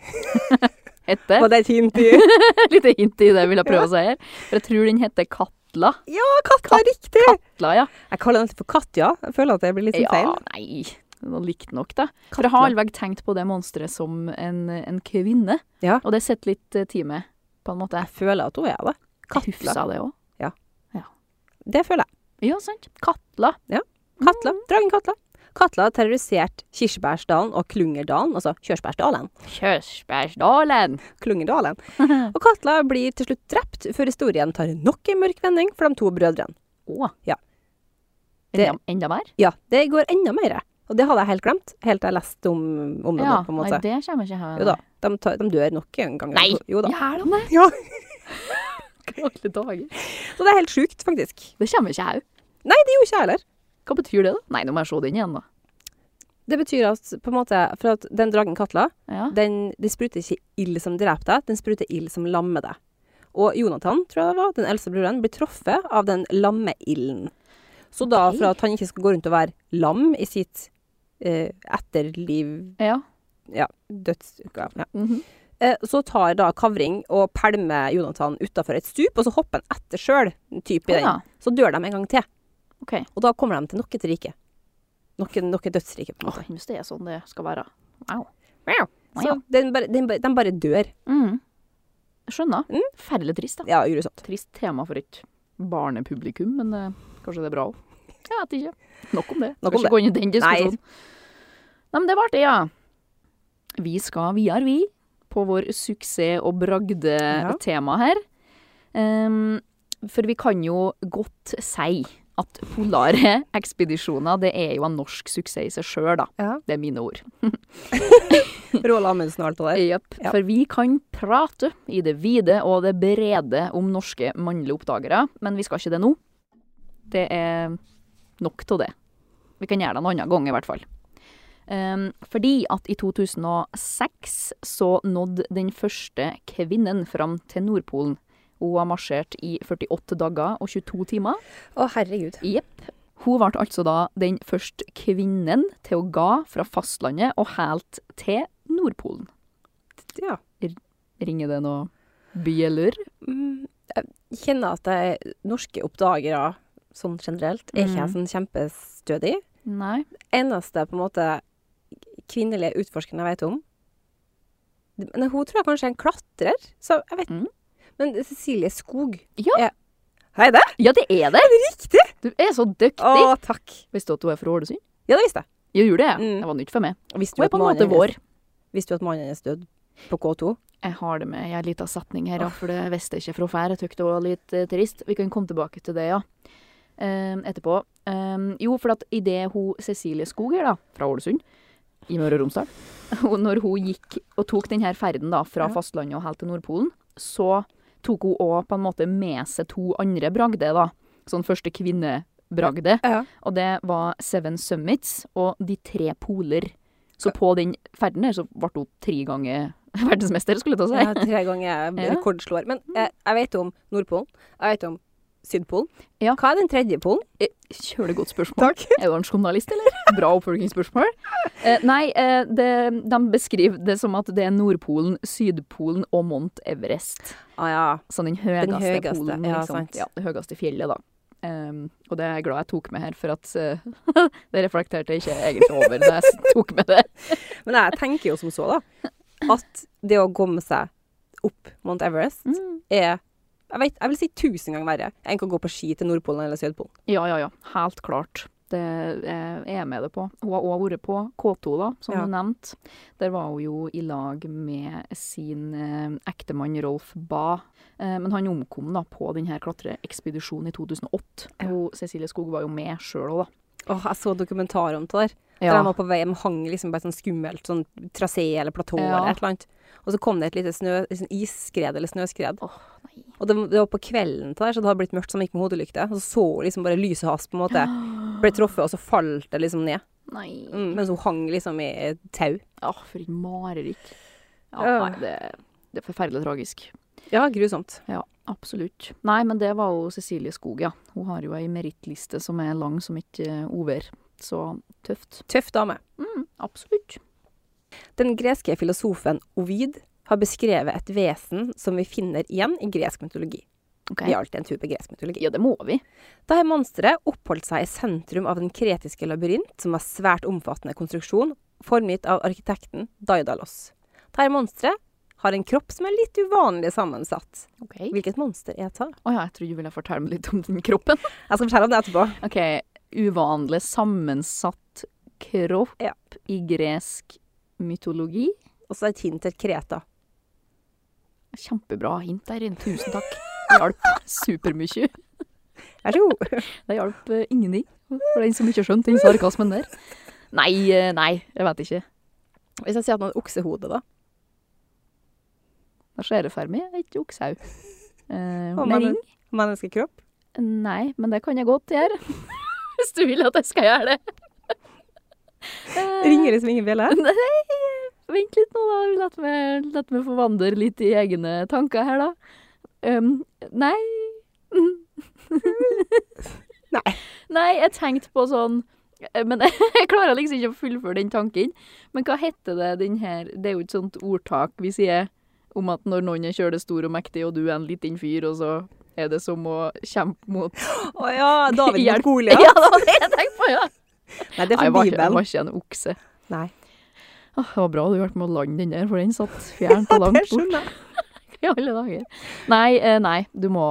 <laughs> Hette. Var det et hint? du? <laughs> Et lite hint i det jeg ville prøve å si her. For jeg tror den heter Katla. <laughs> ja, katta er riktig! Katla, ja. Jeg kaller den alltid for Katja. Jeg føler at det blir litt sånn feil. Ja, nei. Det var likt nok, da. For jeg har allveg tenkt på det monsteret som en, en kvinne. Ja. Og det sitter litt eh, tid med, på en måte. Jeg føler at hun er det. Jeg Katla. Hufsa det òg. Det føler jeg. Ja, sant. Katla. Katla, dragen Katla. Katla har terrorisert Kirsebærsdalen og Klungerdalen, altså Kjørsbærsdalen. <laughs> Kjørsbergsdalen. Klungerdalen. Og Katla blir til slutt drept før historien tar nok en mørk vending for de to brødrene. Å. Ja. Enda, enda mer? Ja, det går enda mer. Og det hadde jeg helt glemt, helt til jeg leste om, om det nå, på en nei, måte. det kommer ikke her. Jo da, de, tar, de dør nok en gang. Nei! Jo da. Gjør de det? <laughs> Ja. Alle dager. Så det er helt sjukt, faktisk. Det kommer ikke her. Nei, det gjorde ikke jeg heller. Hva betyr det, da? Nei, nå må jeg se den igjen, da. Det betyr at, på en måte, for at den dragen Katla, Ja. den, de spruter ikke ild som dreper deg, den spruter ild som lammer deg. Og Jonathan, tror jeg det var, den eldste broren, blir truffet av den lammeilden. Så da, Ok. for at han ikke skal gå rundt og være lam i sitt eh, etterliv, ja. ja, dødsuka, ja. Mhm. Eh, så tar da Kavring og pælmer Jonathan utenfor et stup, og så hopper han etter selv, typ i Å den. ja. Så dør de en gang til. OK. Og da kommer de til nok et rike. Nok, nok et dødsrike, på en Åh, måte. hvis det er sånn det skal være. Wow. Nei, Så den bare, den, bare- de bare dør. Mm. Jeg skjønner. Mm. Forferdelig trist, da. Ja, grusomt. Trist tema for et barnepublikum, men eh, kanskje det er bra òg. Jeg vet ikke. Nok om det. Nok Skal ikke om det. gå inn i den diskusjonen. Nei. Nei. men det var artig, ja. Vi skal videre, vi, på vår suksess- og bragdetema her. Ehm, for vi kan jo godt si at polare ekspedisjoner, det er jo en norsk suksess i seg sjøl, da. Ja. Det er mine ord. Roald Amundsen og alt det der. Jepp. Ja. For vi kan prate i det vide og det brede om norske mannlige oppdagere, men vi skal ikke det nå. Det er nok av det. Vi kan gjøre det en annen gang, i hvert fall. Ehm, fordi at i 2006 så nådde den første kvinnen fram til Nordpolen. Hun har marsjert i 48 dager og 22 timer. Å, herregud. Jepp. Hun ble altså da den første kvinnen til å ga fra fastlandet og helt til Nordpolen. Ja. Ringer det noe bjeller? Mm, Jeg kjenner at jeg, norske oppdagere sånn generelt er Mm. ikke jeg sånn kjempestødig. Nei. Eneste på en måte kvinnelige utforskeren jeg vet om Men hun tror jeg kanskje er en klatrer, så jeg vet Mm. Men Cecilie Skog Ja. er Hei, det! Ja, det er det! Er det riktig? Du er så dyktig! Å, takk. Visste du at hun er fra Ålesund? Ja, det visste jeg. Jeg gjorde det. Mm. Det var nytt for meg. Hun Visste du er at på en måte mannen hennes- vår. Visste du at mannen hennes døde på K2? Jeg har det med i en liten setning her, ja, for det visste jeg ikke fra før. Jeg syntes det var litt eh, trist. Vi kan komme tilbake til det, ja. Ehm, etterpå. Ehm, jo, for at idet hun Cecilie Skog her, da, fra Ålesund i Møre og Romsdal <laughs> hun- Når hun gikk og tok denne ferden da, fra Ja. fastlandet og helt til Nordpolen, så tok hun òg på en måte med seg to andre bragder, da. Sånn første kvinnebragde. Ja. Og det var Seven Summits og De tre poler. Så på den ferden her så ble hun tre ganger <laughs> verdensmester, skulle jeg til å si. Ja, tre ganger <laughs> Ja. rekordslår. Men eh, jeg vet om Nordpolen, jeg vet om Sydpolen. Ja. Hva er den tredje polen? Kjølig Eh, godt spørsmål. Er du en journalist, eller? Bra oppfølgingsspørsmål. Eh, nei, eh, det, de beskriver det som at det er Nordpolen, Sydpolen og Mount Everest. <laughs> Ah, ja. Så den høyeste, Den høyeste, polen, ja, liksom. sant. Ja, det høyeste fjellet, da. Ehm, og det er jeg glad jeg tok med her, for at eh, <laughs> det reflekterte jeg ikke egentlig over da jeg s- tok med det. Men jeg tenker jo som så, da, at det å komme seg opp Mount Everest er jeg, vet, jeg vil si tusen ganger verre enn å gå på ski til Nordpolen eller Sydpolen. Ja, ja, ja. Helt klart. det eh, er jeg med det på. Hun har òg vært på K2, da, som Ja. du nevnte. Der var hun jo i lag med sin eh, ektemann Rolf Ba. Eh, men han omkom da på denne klatreekspedisjonen i 2008. Ja. Hun, Cecilie Skog var jo med sjøl òg, da. Åh, jeg så dokumentar om det der. Der de var på vei, de hang liksom på et sånn skummelt sånn trasé eller platå Ja. eller et eller annet. Og så kom det et lite snø, sånn isskred eller snøskred. Åh, nei. Og det, det var på kvelden til der, så det hadde blitt mørkt, så de gikk med hodelykte. Og så så hun liksom bare lyset hans på en måte. Ble truffet, og så falt det liksom ned. Nei. Mm, mens hun hang liksom i et tau. Åh, for et mareritt. Ja, Ja. nei, det, det er forferdelig tragisk. Ja, grusomt. Absolutt. Nei, men det var jo Cecilie Skog, ja. Hun har jo ei merittliste som er lang som et eh, ovær. Så tøft. Tøff dame. Mm, absolutt. Den greske filosofen Ovid har beskrevet et vesen som vi finner igjen i gresk mytologi. Ok. Vi har alltid en tur på gresk mytologi. Ja, det må vi. Da har monsteret oppholdt seg i sentrum av den kretiske labyrint, som var svært omfattende konstruksjon, formgitt av arkitekten Daidalos. Dette monsteret har en kropp som er litt uvanlig sammensatt. Ok. Å Hvilket monster er det? ja, jeg trodde du ville fortelle meg litt om den kroppen. <laughs> Jeg skal fortelle om det etterpå. Ok, uvanlig sammensatt kropp Ja. i gresk mytologi. Og så et hint til Kreta. Kjempebra hint der inne. Tusen takk. Det hjalp supermye. Vær så god. Det hjalp eh, ingenting. For den som ikke har skjønt den sarkasmen der. Nei, eh, nei, jeg vet ikke. Hvis jeg sier at man har oksehode, da? Da ser det for meg et oksehau. Eh, Og med men- ring? Menneskekropp? Nei, men det kan jeg godt gjøre. <laughs> Hvis du vil at jeg skal gjøre det. Eh, Ringer liksom ingen bjelle her? <laughs> Nei, vent litt nå, da. La meg, la meg få vandre litt i egne tanker her, da. Um, nei Nei. <laughs> Nei, jeg tenkte på sånn eh, men <laughs> jeg klarer liksom ikke å fullføre den tanken. Men hva heter det den her Det er jo et sånt ordtak vi sier om at når noen er kjølig stor og mektig, og du er en liten fyr, og så er det som å kjempe <laughs> mot Å ja, David Hjelp. mot Goliat. det var det <laughs> jeg tenkte på, ja! Nei, det Nei, jeg er var fra ikke, jeg Bibelen. var ikke en okse. Nei. Åh, det var bra du hjalp meg å lande den der, for <laughs> den satt fjernt og langt Det bort skjønner jeg. i alle dager. Nei, eh, nei, du må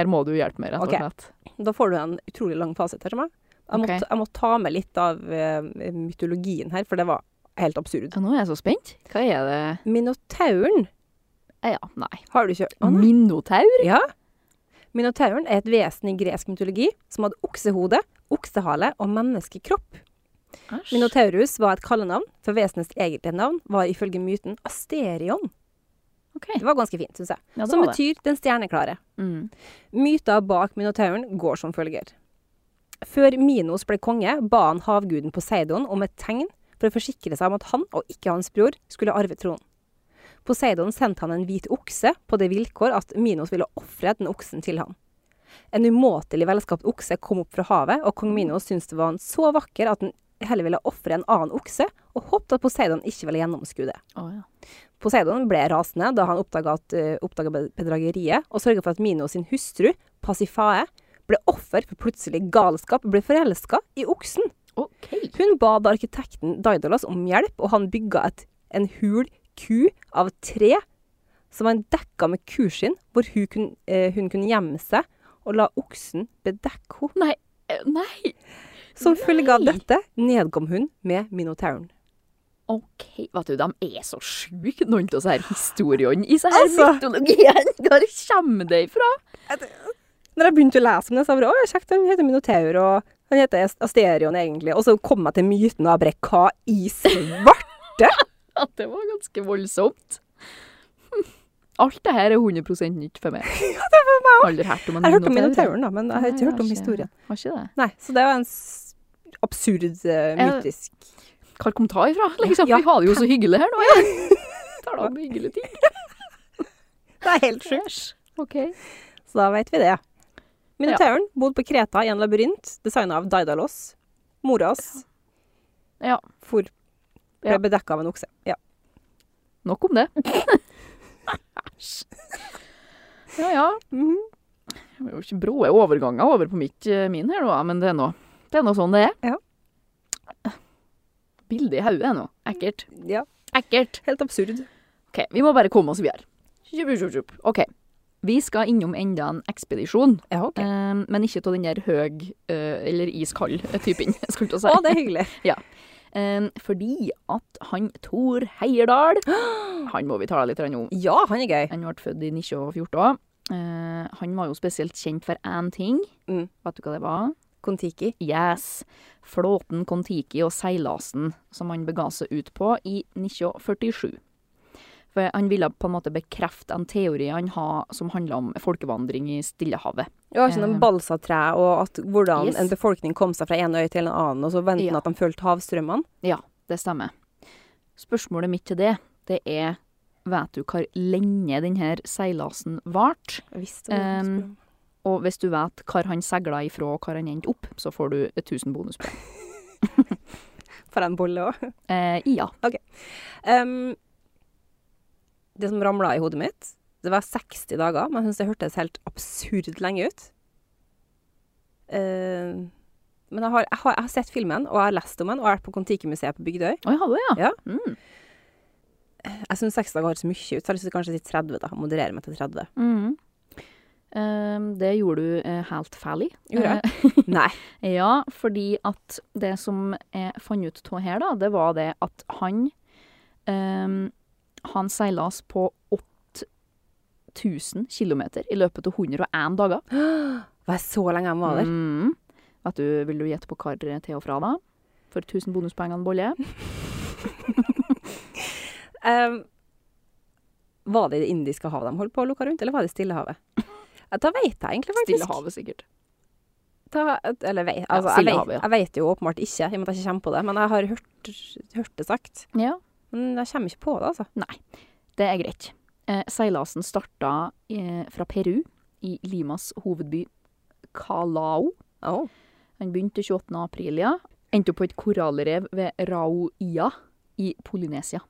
Her må du hjelpe meg, rett og Ok. slett. Da får du en utrolig lang fasit her. Som jeg. Jeg, Ok. måtte, jeg må ta med litt av eh, mytologien her, for det var helt absurd. Ja, Nå er jeg så spent. Hva er det Minotauren Eh, Ja, nei. har du ikke Å, nei. Minotaur? Ja. Minotauren er et vesen i gresk mytologi som hadde oksehode, oksehale og menneskekropp. Æsj. Minotaurus var et kallenavn, for vesenets egentlige navn var ifølge myten Asterion. OK. Det var ganske fint, syns jeg. Ja, det Som var det. betyr den stjerneklare. Mm. Myter bak minotauren går som følger. Før Minos ble konge, ba han havguden Poseidon om et tegn for å forsikre seg om at han, og ikke hans bror, skulle arve tronen. Poseidon sendte han en hvit okse på det vilkår at Minos ville ofre den oksen til han. En umåtelig velskapt okse kom opp fra havet, og kong Minos syntes det var han så vakker at han heller ville ofre en annen okse, og håpte at Poseidon ikke ville gjennomskue det. Å, ja. Poseidon ble rasende da han oppdaga bedrageriet, og sørga for at Minos sin hustru, Pasifae, ble offer for plutselig galskap og ble forelska i oksen. OK. Hun ba da arkitekten Daidalos om hjelp, og han bygga et, en hul ku av tre som han dekka med kuskinn, hvor hun, kun, eh, hun kunne gjemme seg, og la oksen bedekke henne. Nei. eh, Nei. Som følge av Nei. dette nedkom hun med minotauren. OK. Vet du, de er så sjuke, noen av disse her historiene i disse her Altså. mytologiene. <laughs> Hvor kommer det ifra? Når jeg begynte å lese om det, så var det «Å, ja, kjekt, han heter Minotaur, og han heter Asterion egentlig. Og så kom jeg til myten av Brekka i svart. at det var ganske voldsomt. Hm. Alt det her er 100 nytt <laughs> for meg. ja, det var meg Aldri hørt om en Jeg hørte om minotaur. Minotauren, da, men jeg har ikke hørt om historien. Har ikke det. Nei, så det var en s- absurd, eh, mytisk Hvor kom ta ifra? Liksom, Ja. Vi har det jo så hyggelig her nå. <laughs> Jeg. Tar da om hyggelige ting. Det er helt sjukt. Æsj. OK. Så da vet vi det. Minotauren bodde på Kreta i en labyrint, designa av Daidalos. Mora hans Ja. for Ja. ble bedekka av en okse. Ja. Nok om <laughs> det. Æsj. Ja ja. Mhm. Det var jo ikke brå overganger over på mitt, eh, min her nå, ja, men det er nå det er nå sånn det er. Ja. Bildet i hodet er nå. Ekkelt. ja. Ekkelt. Helt absurd. Ok, vi må bare komme oss videre. Tjup, tjup, tjup. Ok, Vi skal innom enda en ekspedisjon, Ja, ok. eh, men ikke av den der høy eh, eller iskald typen, <laughs> skal jeg ikke Å, si. det er hyggelig. Eh, fordi at han Thor <gasps> Heyerdahl Han må vi tale litt om. Ja, han er gøy. Han ble født i 1914. Eh, han var jo spesielt kjent for én ting. Mm. Vet du hva det var? Kon-Tiki. Yes. Flåten Kon-Tiki og seilasen som han bega seg ut på i 1947. For han ville på en måte bekrefte en teori han har som handla om folkevandring i Stillehavet. Ja, sånn Eh. om balsatre og at hvordan Yes. en befolkning kom seg fra en øy til en annen, og så ventet Ja. at de fulgte havstrømmene. Det stemmer. Spørsmålet mitt til det, det er Vet du hvor lenge denne seilasen varte? Jeg visste det var Um, Ehm, Og hvis du vet hvor han seila ifra og hvor han endte opp, så får du 1000 bonuspoeng. For en bolle òg. Eh, ja. Um, det som ramla i hodet mitt, det var 60 dager, men jeg syns det hørtes helt absurd lenge ut. Eh, men jeg har, jeg, har, jeg har sett filmen, og jeg har lest om den, og jeg har vært på Kon-Tiki-museet på Bygdøy. Å, ja, det, ja. Ja. Mm. Jeg syns 60 dager høres mye ut, så jeg har lyst til kanskje å si 30, da. Moderere meg til <laughs> 30. Mhm. Eh, det gjorde du eh, helt Eh, ferdig. Gjorde jeg? Nei. Ja, fordi at det som jeg fant ut av her, da, det var det at han um, Han seilas på 8000 km i løpet av 101 dager. Var jeg så lenge jeg var der? Mm. Vet du, vil du gjette på hvor til og fra, da? For 1000 bonuspoeng og en bolle? Um, var det i Det indiske havet de holdt på å lukke rundt, eller var det i Stillehavet? Eh, Da veit jeg egentlig faktisk. Stillehavet, sikkert. Da, eller vei, altså, jeg, Stillehavet, vet, ja. jeg vet jo åpenbart ikke, i og med at jeg ikke kommer på det. Men jeg har hørt, hørt det sagt. Ja. Men jeg kommer ikke på det, altså. Det er greit. Eh, seilasen starta eh, fra Peru, i Limas hovedby Calao. Oh. Han begynte 28. april, ja. Endte opp på et korallrev ved Rauia i Polynesia.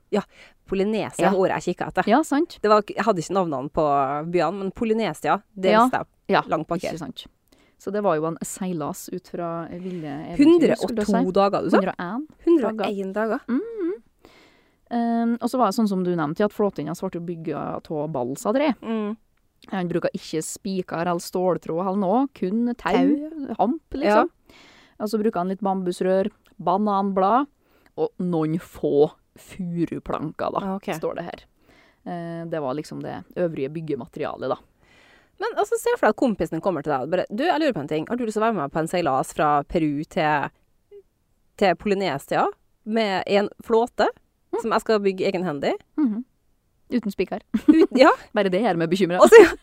Polynesia Ja. var ordet jeg kikka etter. Ja, sant? Det var, jeg hadde ikke navnene på byene, men Polynesia, det Ja. visste jeg. Ja, Langt bak her. Ikke sant? Så det var jo en seilas ut fra ville eventyr, skulle 102 jeg si. dager, du sa? 101. 101 dager. Um, og så var det sånn som du nevnte, at flåten hans ble bygga av balsadre. Mm. Han bruker ikke spiker eller ståltråd eller noe, kun tau, Tau. hamp, liksom. Og så bruker han litt bambusrør, bananblad og noen få furuplanker, da, Ah, ok. står det her. Eh, det var liksom det øvrige byggematerialet, da. Men altså, se for deg at kompisen din kommer til deg og bare Du, jeg lurer på en ting. Har du lyst til å være med på en seilas fra Peru til, til Polynesia med en flåte? Som jeg skal bygge egenhendig? Mhm. Uten spiker. Ut, <laughs> ja. Bare det gjør meg bekymra. Og så,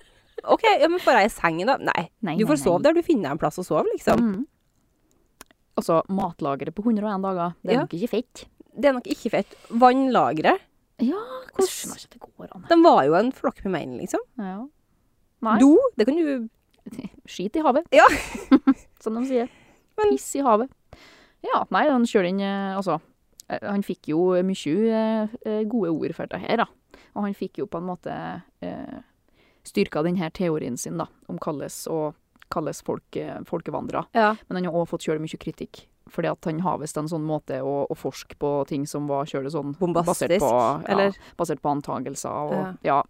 OK, ja, men får jeg ei seng, da? Nei. Nei, Du nei, får nei. sove der du finner deg en plass å sove, liksom. Mhm. Altså, matlageret på 101 dager, det er Ja. nok ikke fett. Det er nok ikke fett. Vannlageret Ja, hvordan- jeg skjønner ikke at det går an. De var jo en flokk med menn, liksom. Ja. Nei. Do, det kan du <laughs> Skit i havet. Ja. Som de sier. Men- Piss i havet. Ja, nei, han kjører inn eh, Altså, eh, han fikk jo mye eh, eh, gode ord for det her, da. Og han fikk jo på en måte eh, styrka denne teorien sin, da, om hvordan og kalles folke, folkevandrere. Ja. Men han har også fått kjølig mye kritikk. Fordi at han har visst en sånn måte å, å forske på ting som var kjølig sånn Bombastisk, basert på, ja, eller? basert på antagelser og ja.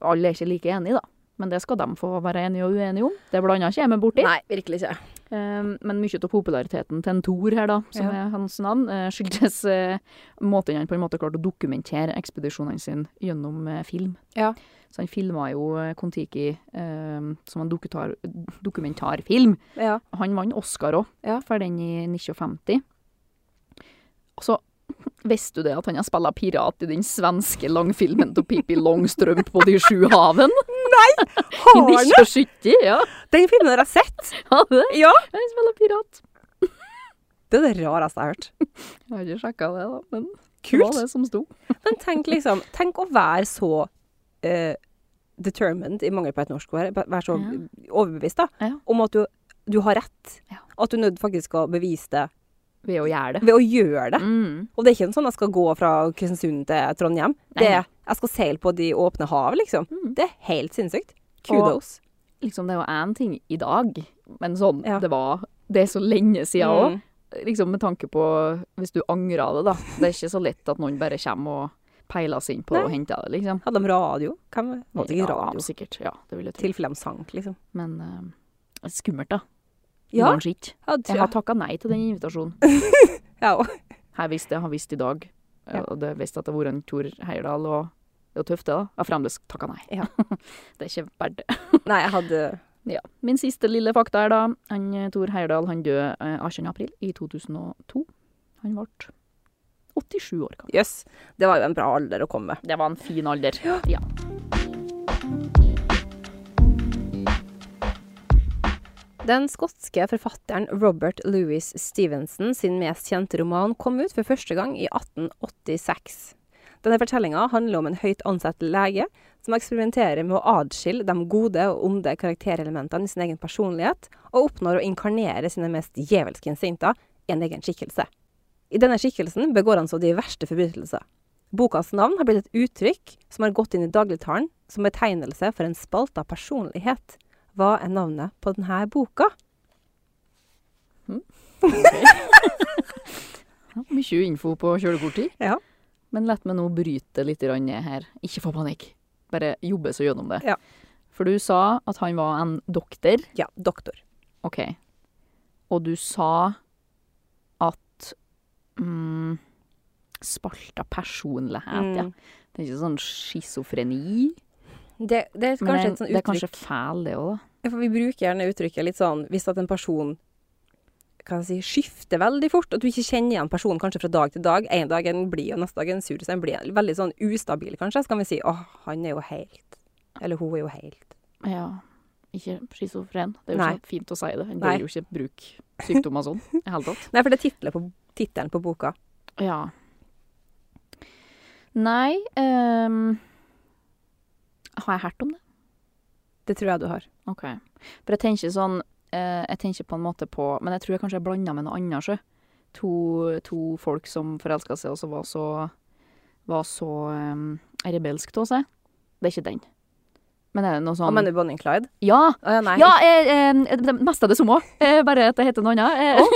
Alle er ikke like enige, da. Men det skal de få være enige og uenige om. Det blander ikke jeg meg borti. Nei, virkelig ikke. Um, men mye av populariteten til en Thor her, da, som Ja. er hans navn, eh, skyldtes eh, måten han på en måte klarte å dokumentere ekspedisjonene sine gjennom eh, film. Ja. Så han filma jo eh, Kon-Tiki eh, som en dokutar, dokumentarfilm. Ja. Han vant Oscar òg, Ja. for den i 1950. Så visste du det at han har spilla pirat i den svenske langfilmen til Pippi Longstrømp på De sju haven? I Har han? 1970? Ja, Den filmen har jeg sett! han det. Ja! Han spiller pirat. Det er det rareste jeg har hørt. Jeg har ikke sjekka det, da, men det var Kult! det som sto. Men tenk liksom, tenk å være så eh, determined, i mangel på et norsk ord, være så overbevist da, Ja. om at du, du har rett. Ja. At du nødt faktisk skal bevise det Ved å gjøre det. ved å gjøre det. Mm. Og det er ikke en sånn jeg skal gå fra Kristiansund til Trondheim. Det, nei. jeg skal seile på de åpne hav, liksom. Mm. Det er helt sinnssykt. Kudos. Liksom, det er jo én ting i dag, men sånn Ja. det var Det er så lenge siden òg. Mm. Liksom med tanke på hvis du angrer det, da. Det er ikke så lett at noen bare kommer og peila oss inn på Nei. og henta det, liksom. Hadde de radio? Hvem var det ikke Ja, radio? sikkert. Ja, det vil jeg tro. Tilfelle de sank, liksom. Men eh, skummelt, da. Ja, Kanskje ikke. ja, det Jeg tror har jeg. takka nei til den <laughs> invitasjonen. <laughs> Ja, og- Jeg visste det, jeg har visst i dag. eh, Ja. Og det visste at det har vært en Tor Heyerdahl, og det er jo tøft, det, da. Jeg har fremdeles takka nei. Ja. <laughs> det er ikke verdt det. Nei, jeg hadde Ja. Min siste lille fakta er, da, han eh, Tor Heyerdahl han døde eh, 18. april i 2002. Han ble 87 år gammel. Jøss. Det var jo en bra alder å komme. Det var en fin alder. Ja. Den skotske forfatteren Robert Louis Stevenson sin mest kjente roman kom ut for første gang i 1886. Denne fortellinga handler om en høyt ansett lege som eksperimenterer med å adskille de gode og onde karakterelementene i sin egen personlighet, og oppnår å inkarnere sine mest djevelske instinkter i en egen skikkelse. I denne skikkelsen begår han så de verste forbrytelser. Bokas navn har blitt et uttrykk som har gått inn i dagligtalen som betegnelse for en spalt av personlighet. Hva er navnet på denne boka? Ja, Mye info på kjølekort tid. Ja. Men la meg nå bryte litt grann ned her. Ikke få panikk. Bare jobbe seg gjennom det. Ja. For du sa at han var en doktor. Ja, doktor. OK. Og du sa at mm, Spalta personlighet, ja. Mm. Det er ikke sånn schizofreni. Det, det er Men det, kanskje er- et sånt det er kanskje uttrykk fæl, det òg, da. Ja, For Vi bruker gjerne uttrykket litt sånn hvis at en person kan jeg si, skifter veldig fort, at du ikke kjenner igjen personen kanskje fra dag til dag. En dag er den blid, og neste dag er den sur. Så en blir veldig sånn ustabil, kanskje. Så kan vi si åh, han er jo helt Eller hun er jo helt Ja. Ikke schizofren. Det er jo Nei. ikke fint å si det. En Nei. bør jo ikke bruke sykdommer sånn i det hele tatt. Nei, for det er titlet på- tittelen på boka. Ja. Nei ehm, Har jeg hørt om det? Det tror jeg du har. OK. For jeg tenker sånn eh, Jeg tenker på en måte på Men jeg tror jeg kanskje jeg blanda med noe annet, sjø. To, to folk som forelska seg, og så var så Var så um, rebelsk av seg. Det er ikke den. Men er det noe Hva sånn mener du Bonnie and Clyde? Ja! Å ja, nei. Ja, eh, eh, det meste av det samme. Eh, bare at det heter noe annet.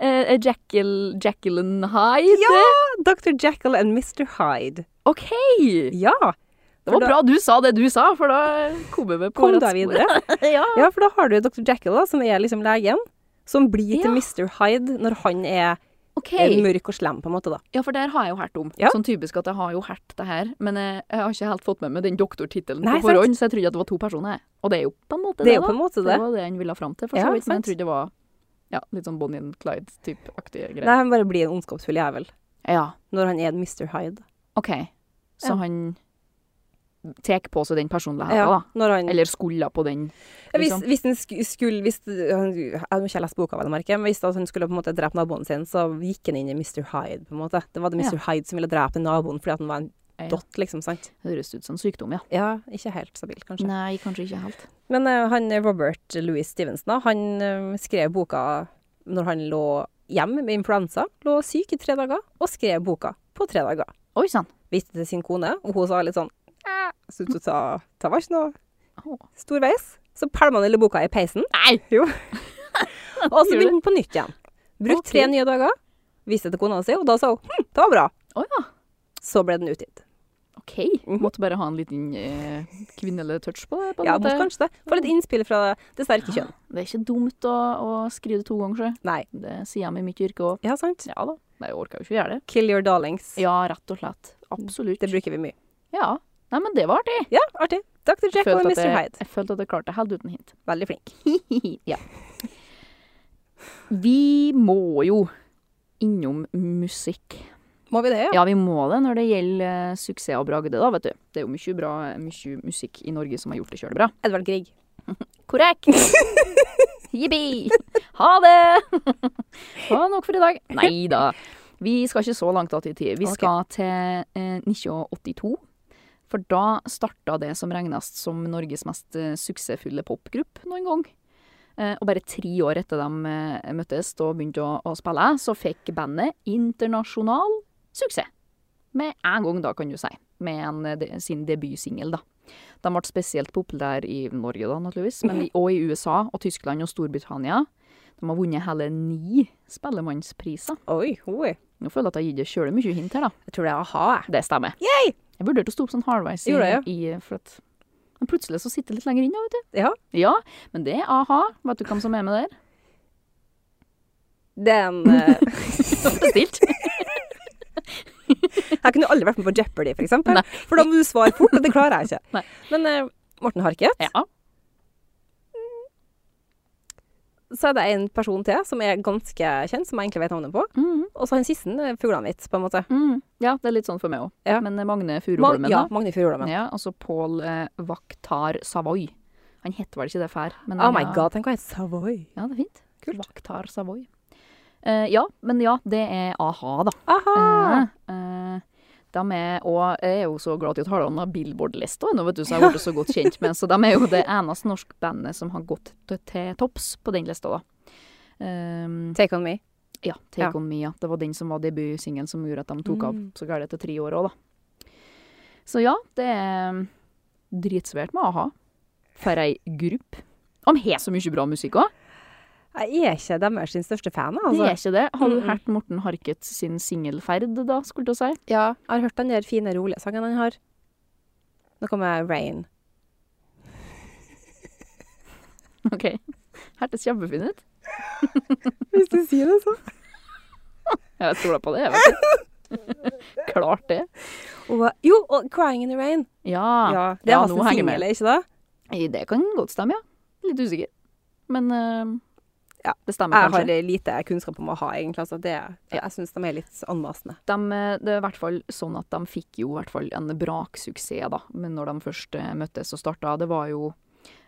Eh, <laughs> eh, Jackal, Jacqueline Hyde. Dr. Jackal and Mr. Hyde. OK! Ja. Det var For da- bra du sa det du sa, for da kom vi på Kom rett da spor. videre. ja. <laughs> Ja, for da har du Dr. Jekyll, da, som er liksom legen, som blir til Ja. Mr. Hyde når han er OK. eh, mørk og slem, på en måte, da. Ja, for der har jeg jo hørt om. Ja. Sånn typisk at jeg har jo hørt det her, men jeg, jeg har ikke helt fått med meg den doktortittelen Nei, på forhånd, så jeg trodde at det var to personer. jeg. Og det er jo på en måte Det, det, er jo på da. en måte Det det. var det han ville fram til, for Ja, så vidt, men sant. jeg trodde det var ja, litt sånn Bonnie and Clyde-type-aktige Nei, greier. han bare blir en ondskapsfull jævel Ja, når han er en Mr. Hyde. OK. Så Ja. han tar på seg den personligheten, Ja, da. når han, Eller skulle på den. Ja, hvis, liksom. hvis han sk- skulle hvis, han, Jeg har ikke lest boka, vel å merke, men hvis at han skulle på en måte drepe naboen sin, så gikk han inn i Mr. Hyde, på en måte. Det var det Mr. Hyde som ville drepe naboen fordi at han var en Ja. dott, liksom, sant? Det høres ut som sykdom, ja. Ja, ikke helt stabilt, kanskje. Nei, kanskje ikke helt. Men eh, han Robert Louis Stevenson, da, han eh, skrev boka når han lå hjemme med influensa, lå syk i tre dager, og skrev boka på tre dager. Oi sann. Viste til sin kone, og hun sa litt sånn «Eh, Syns du ta, ta var ikke noe Åh. storveis? Så pælma han lille boka i peisen, <laughs> Nei! <laughs> og Gjorde så begynte han på nytt igjen. Brukte tre Ok. nye dager, viste til kona si, og da sa hun hm, det var bra. Å ja. Så ble den utgitt. OK. Måtte bare ha en liten eh, kvinnelig touch på det. På en Mhm. Ja, måte. måtte kanskje det. Få litt innspill fra det sterke kjønn. Det er ikke dumt å, å skrive det to ganger, sjø. Nei. Det sier jeg med mitt yrke òg. Ja, sant? Ja da. Nei, jeg orker jo ikke gjøre det. Kill your darlings. Ja, rett og slett. Absolutt. Det bruker vi mye. Ja. Nei, men det var artig. Ja, artig. Dr. Jeg Jekyll og følte at Mr. jeg, Hyde. jeg følte at jeg klarte det helt uten hint. Veldig flink. <laughs> ja. Vi må jo innom musikk. Må vi det, ja? Ja, vi må det når det gjelder eh, suksess og bragde, da, vet du. Det er jo mye bra, mye musikk i Norge som har gjort det kjølbra. Edvard Grieg. Korrekt. Jippi. Ha det. Ha nok for i dag. Nei da. Vi skal ikke så langt tilbake i tid. Vi Ok. skal til eh, 1982. For da starta det som regnes som Norges mest eh, suksessfulle popgruppe noen gang. Eh, og bare tre år etter de eh, møttes og begynte å, å spille, så fikk bandet internasjonal suksess. Med en gang, da, kan du si. Med en, eh, de, sin debutsingel, da. De Mhm. ble spesielt populære i Norge, da, naturligvis, men i, og i USA og Tyskland og Storbritannia. De har vunnet hele ni spellemannspriser. <laughs> Oi, oi. Nå føler jeg at jeg har gitt deg sjøl mye hint her, da. Jeg tror det er a-ha. jeg. Det stemmer. Jeg vurderte å stå opp sånn halvveis. i- Gjorde i- for at- Men plutselig så sitter jeg litt lenger inn, da, vet du. Ja. Ja, men det er a-ha. Vet du hvem som er med <laughs> der? Den <laughs> eh, Bestilt. Jeg kunne aldri vært med på Jeopardy, for eksempel. Nei. For da må du svare fort, og det klarer jeg <laughs> ikke. Nei. Men eh, Morten Harket, Ja. så er det en person til som er ganske kjent, som jeg egentlig vet navnet på. Mhm. Og så han siste, eh, Fuglehvit, på en måte. Mhm. ja, det er litt sånn for meg òg. Ja. Men Magne Ma- Furuholmen, ja, da. Magne Furuholmen. Ja, altså Pål eh, Vaktar Savoy. Han heter vel ikke det før? men Oh han my er- god, tenk hva heter Savoy. Ja, det er fint. Kult. Vaktar Savoy. Eh, ja, men ja, det er a-ha, da. Aha! Eh, eh, de er, og jeg er jo så glad til at Harald har Billboard-lista ennå, vet du, så jeg har blitt så godt kjent med. Så de er jo det eneste norske bandet som har gått til, til topps på den lista, da. Ehm, Take on me. ja, Take Ja. On Me, ja. Det var den som var debutsingelen som gjorde at de tok av Mm. så galt etter tre år òg, da. Så ja, det er dritsvært med a-ha. For ei gruppe. De har så mye bra musikk òg. Jeg er ikke deres sin største fan, Det altså. er ikke det. Har du Mm-mm. hørt Morten Harket sin singelferd, da, skulle du si? <laughs> Ja, jeg har hørt den der fine, rolige sangen han har. Noe med Rain. OK. Hørtes kjempefin ut. Hvis du sier det, sånn. så. Jeg stoler på det, jeg vet ikke. <laughs> Klart det. Og, jo, og Crying in the Rain. Ja. Ja, det Ja, var nå sin henger jeg singel, med. ikke det? I Det kan godt stemme, ja. Litt usikker. Men eh, Ja. det stemmer Jeg Mm, kanskje. har lite kunnskap om å ha, egentlig. Altså, det, Jeg syns de er litt anmasende. De, eh, det er i hvert fall sånn at de fikk jo i hvert fall en braksuksess da, men når de først eh, møttes og starta. Det var jo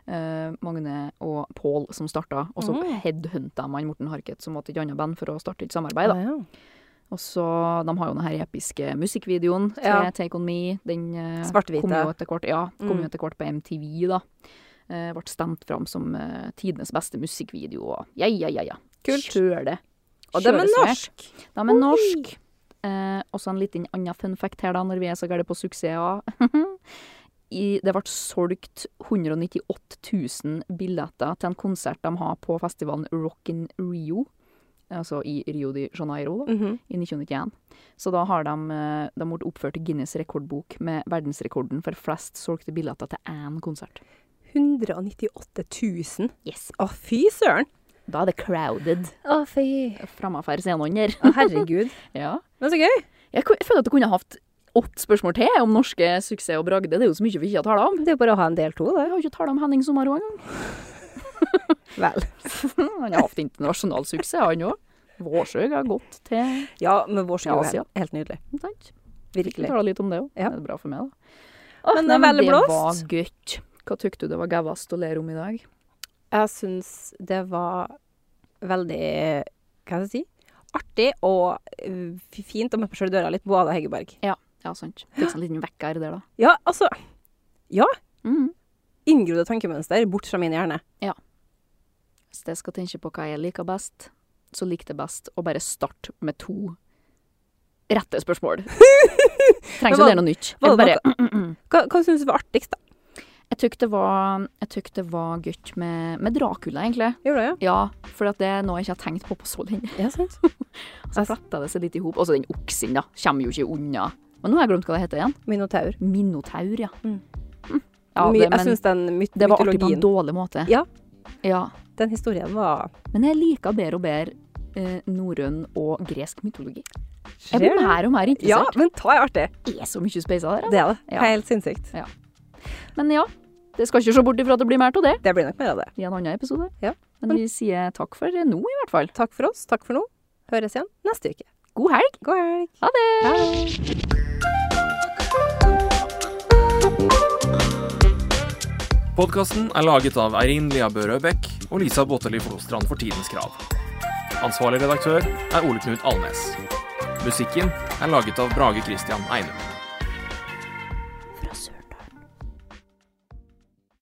eh, Magne og Pål som starta, og så Mm. headhunta man Morten Harket, som var til et annet band, for å starte et samarbeid. da. Og så, De har jo den her episke musikkvideoen til Ja. Take On Me. Den eh, Svart-hvite. kom jo etter hvert, ja, kom Mm. jo etter hvert på MTV. da. Eh, ble stemt fram som eh, tidenes beste musikkvideo. og Ja, ja, ja. ja. Kult. Kjør det. Og de Kjør er det svært. norsk! De er norsk. Eh, også en liten annen fun fact her, da, når vi er så gale på suksesser. <laughs> I, det ble solgt 198 000 billetter til en konsert de har på festivalen Rock in Rio. Altså i Rio de Janeiro, da Mhm. i 1991. Så da har de, eh, de ble oppført i Guinness rekordbok med verdensrekorden for flest solgte billetter til én konsert. 198 000. Yes. Å, fy søren! Da er det crowded Å, fy. framafor scenen der. Å, herregud. <laughs> Ja. Men så gøy. Jeg, ku- jeg føler at jeg kunne hatt åtte spørsmål til om norske suksess og bragder. Det er jo så mye vi ikke har talt om. Det er jo bare å ha en del to, det. Jeg har ikke talt om Henning Sommerå engang. Vel. <laughs> Han har hatt internasjonal suksess, han òg. Vårsøg har gått til Ja, men vår Ja, skole er Asia. helt, helt nydelig. Sant? Vi Virkelig. taler litt om det òg. Ja. Det er bra for meg, da. Åh, Men det nei, er veldig det var blåst. gøtt. Hva tykte du det var gævast å lære om i dag? Jeg syns det var veldig Hva skal jeg si? Artig og øh, fint å møte meg sjøl i døra litt, både Heggeberg. Ja, sant. Fikk seg en liten vekker der, da. Ja, altså. Mm. Inngrodde tankemønster bort fra min hjerne. Hvis jeg skal tenke på hva jeg liker best, så liker det best å bare starte med to rette <laughs> spørsmål. Trenger Men ikke var- å lære noe nytt. var Jeg, det Mm, bare, Hva, hva syns du var artigst, da? jeg tykte det var, jeg tykte det var gøtt med, med Dracula, egentlig. Gjorde du det? Ja, for at det er noe jeg ikke har tenkt på på så lenge. Ja, sant. Så fletta det seg litt i hop. Og så den oksen, da. Kommer jo ikke unna. Men nå har jeg glemt hva det heter igjen. Minotaur. Minotaur, ja. Mm. ja My, det, jeg men syns den myt det var artig på en mytologien dårlig måte. Ja. ja. Den historien var Men jeg liker bedre og bedre eh, norrøn og gresk mytologi. Jeg Skjer blir det? mer og mer Ja, interessert. men ta er artig. Det er så mye speisa der. Det er det. Ja. Helt sinnssykt. Altså. Men ja, det skal ikke se bort ifra at det blir mer av det Det blir nok mer av det. i en annen episode. Ja. Men vi sier takk for nå, i hvert fall. Takk for oss. Takk for nå. Høres igjen neste uke. God helg! God helg. Ha det! Ha det. Podkasten er laget av Eirin Lia Børø Bech og Lisa Botteli Flostrand for Tidens Krav. Ansvarlig redaktør er Ole Knut Alnes. Musikken er laget av Brage Christian Einum.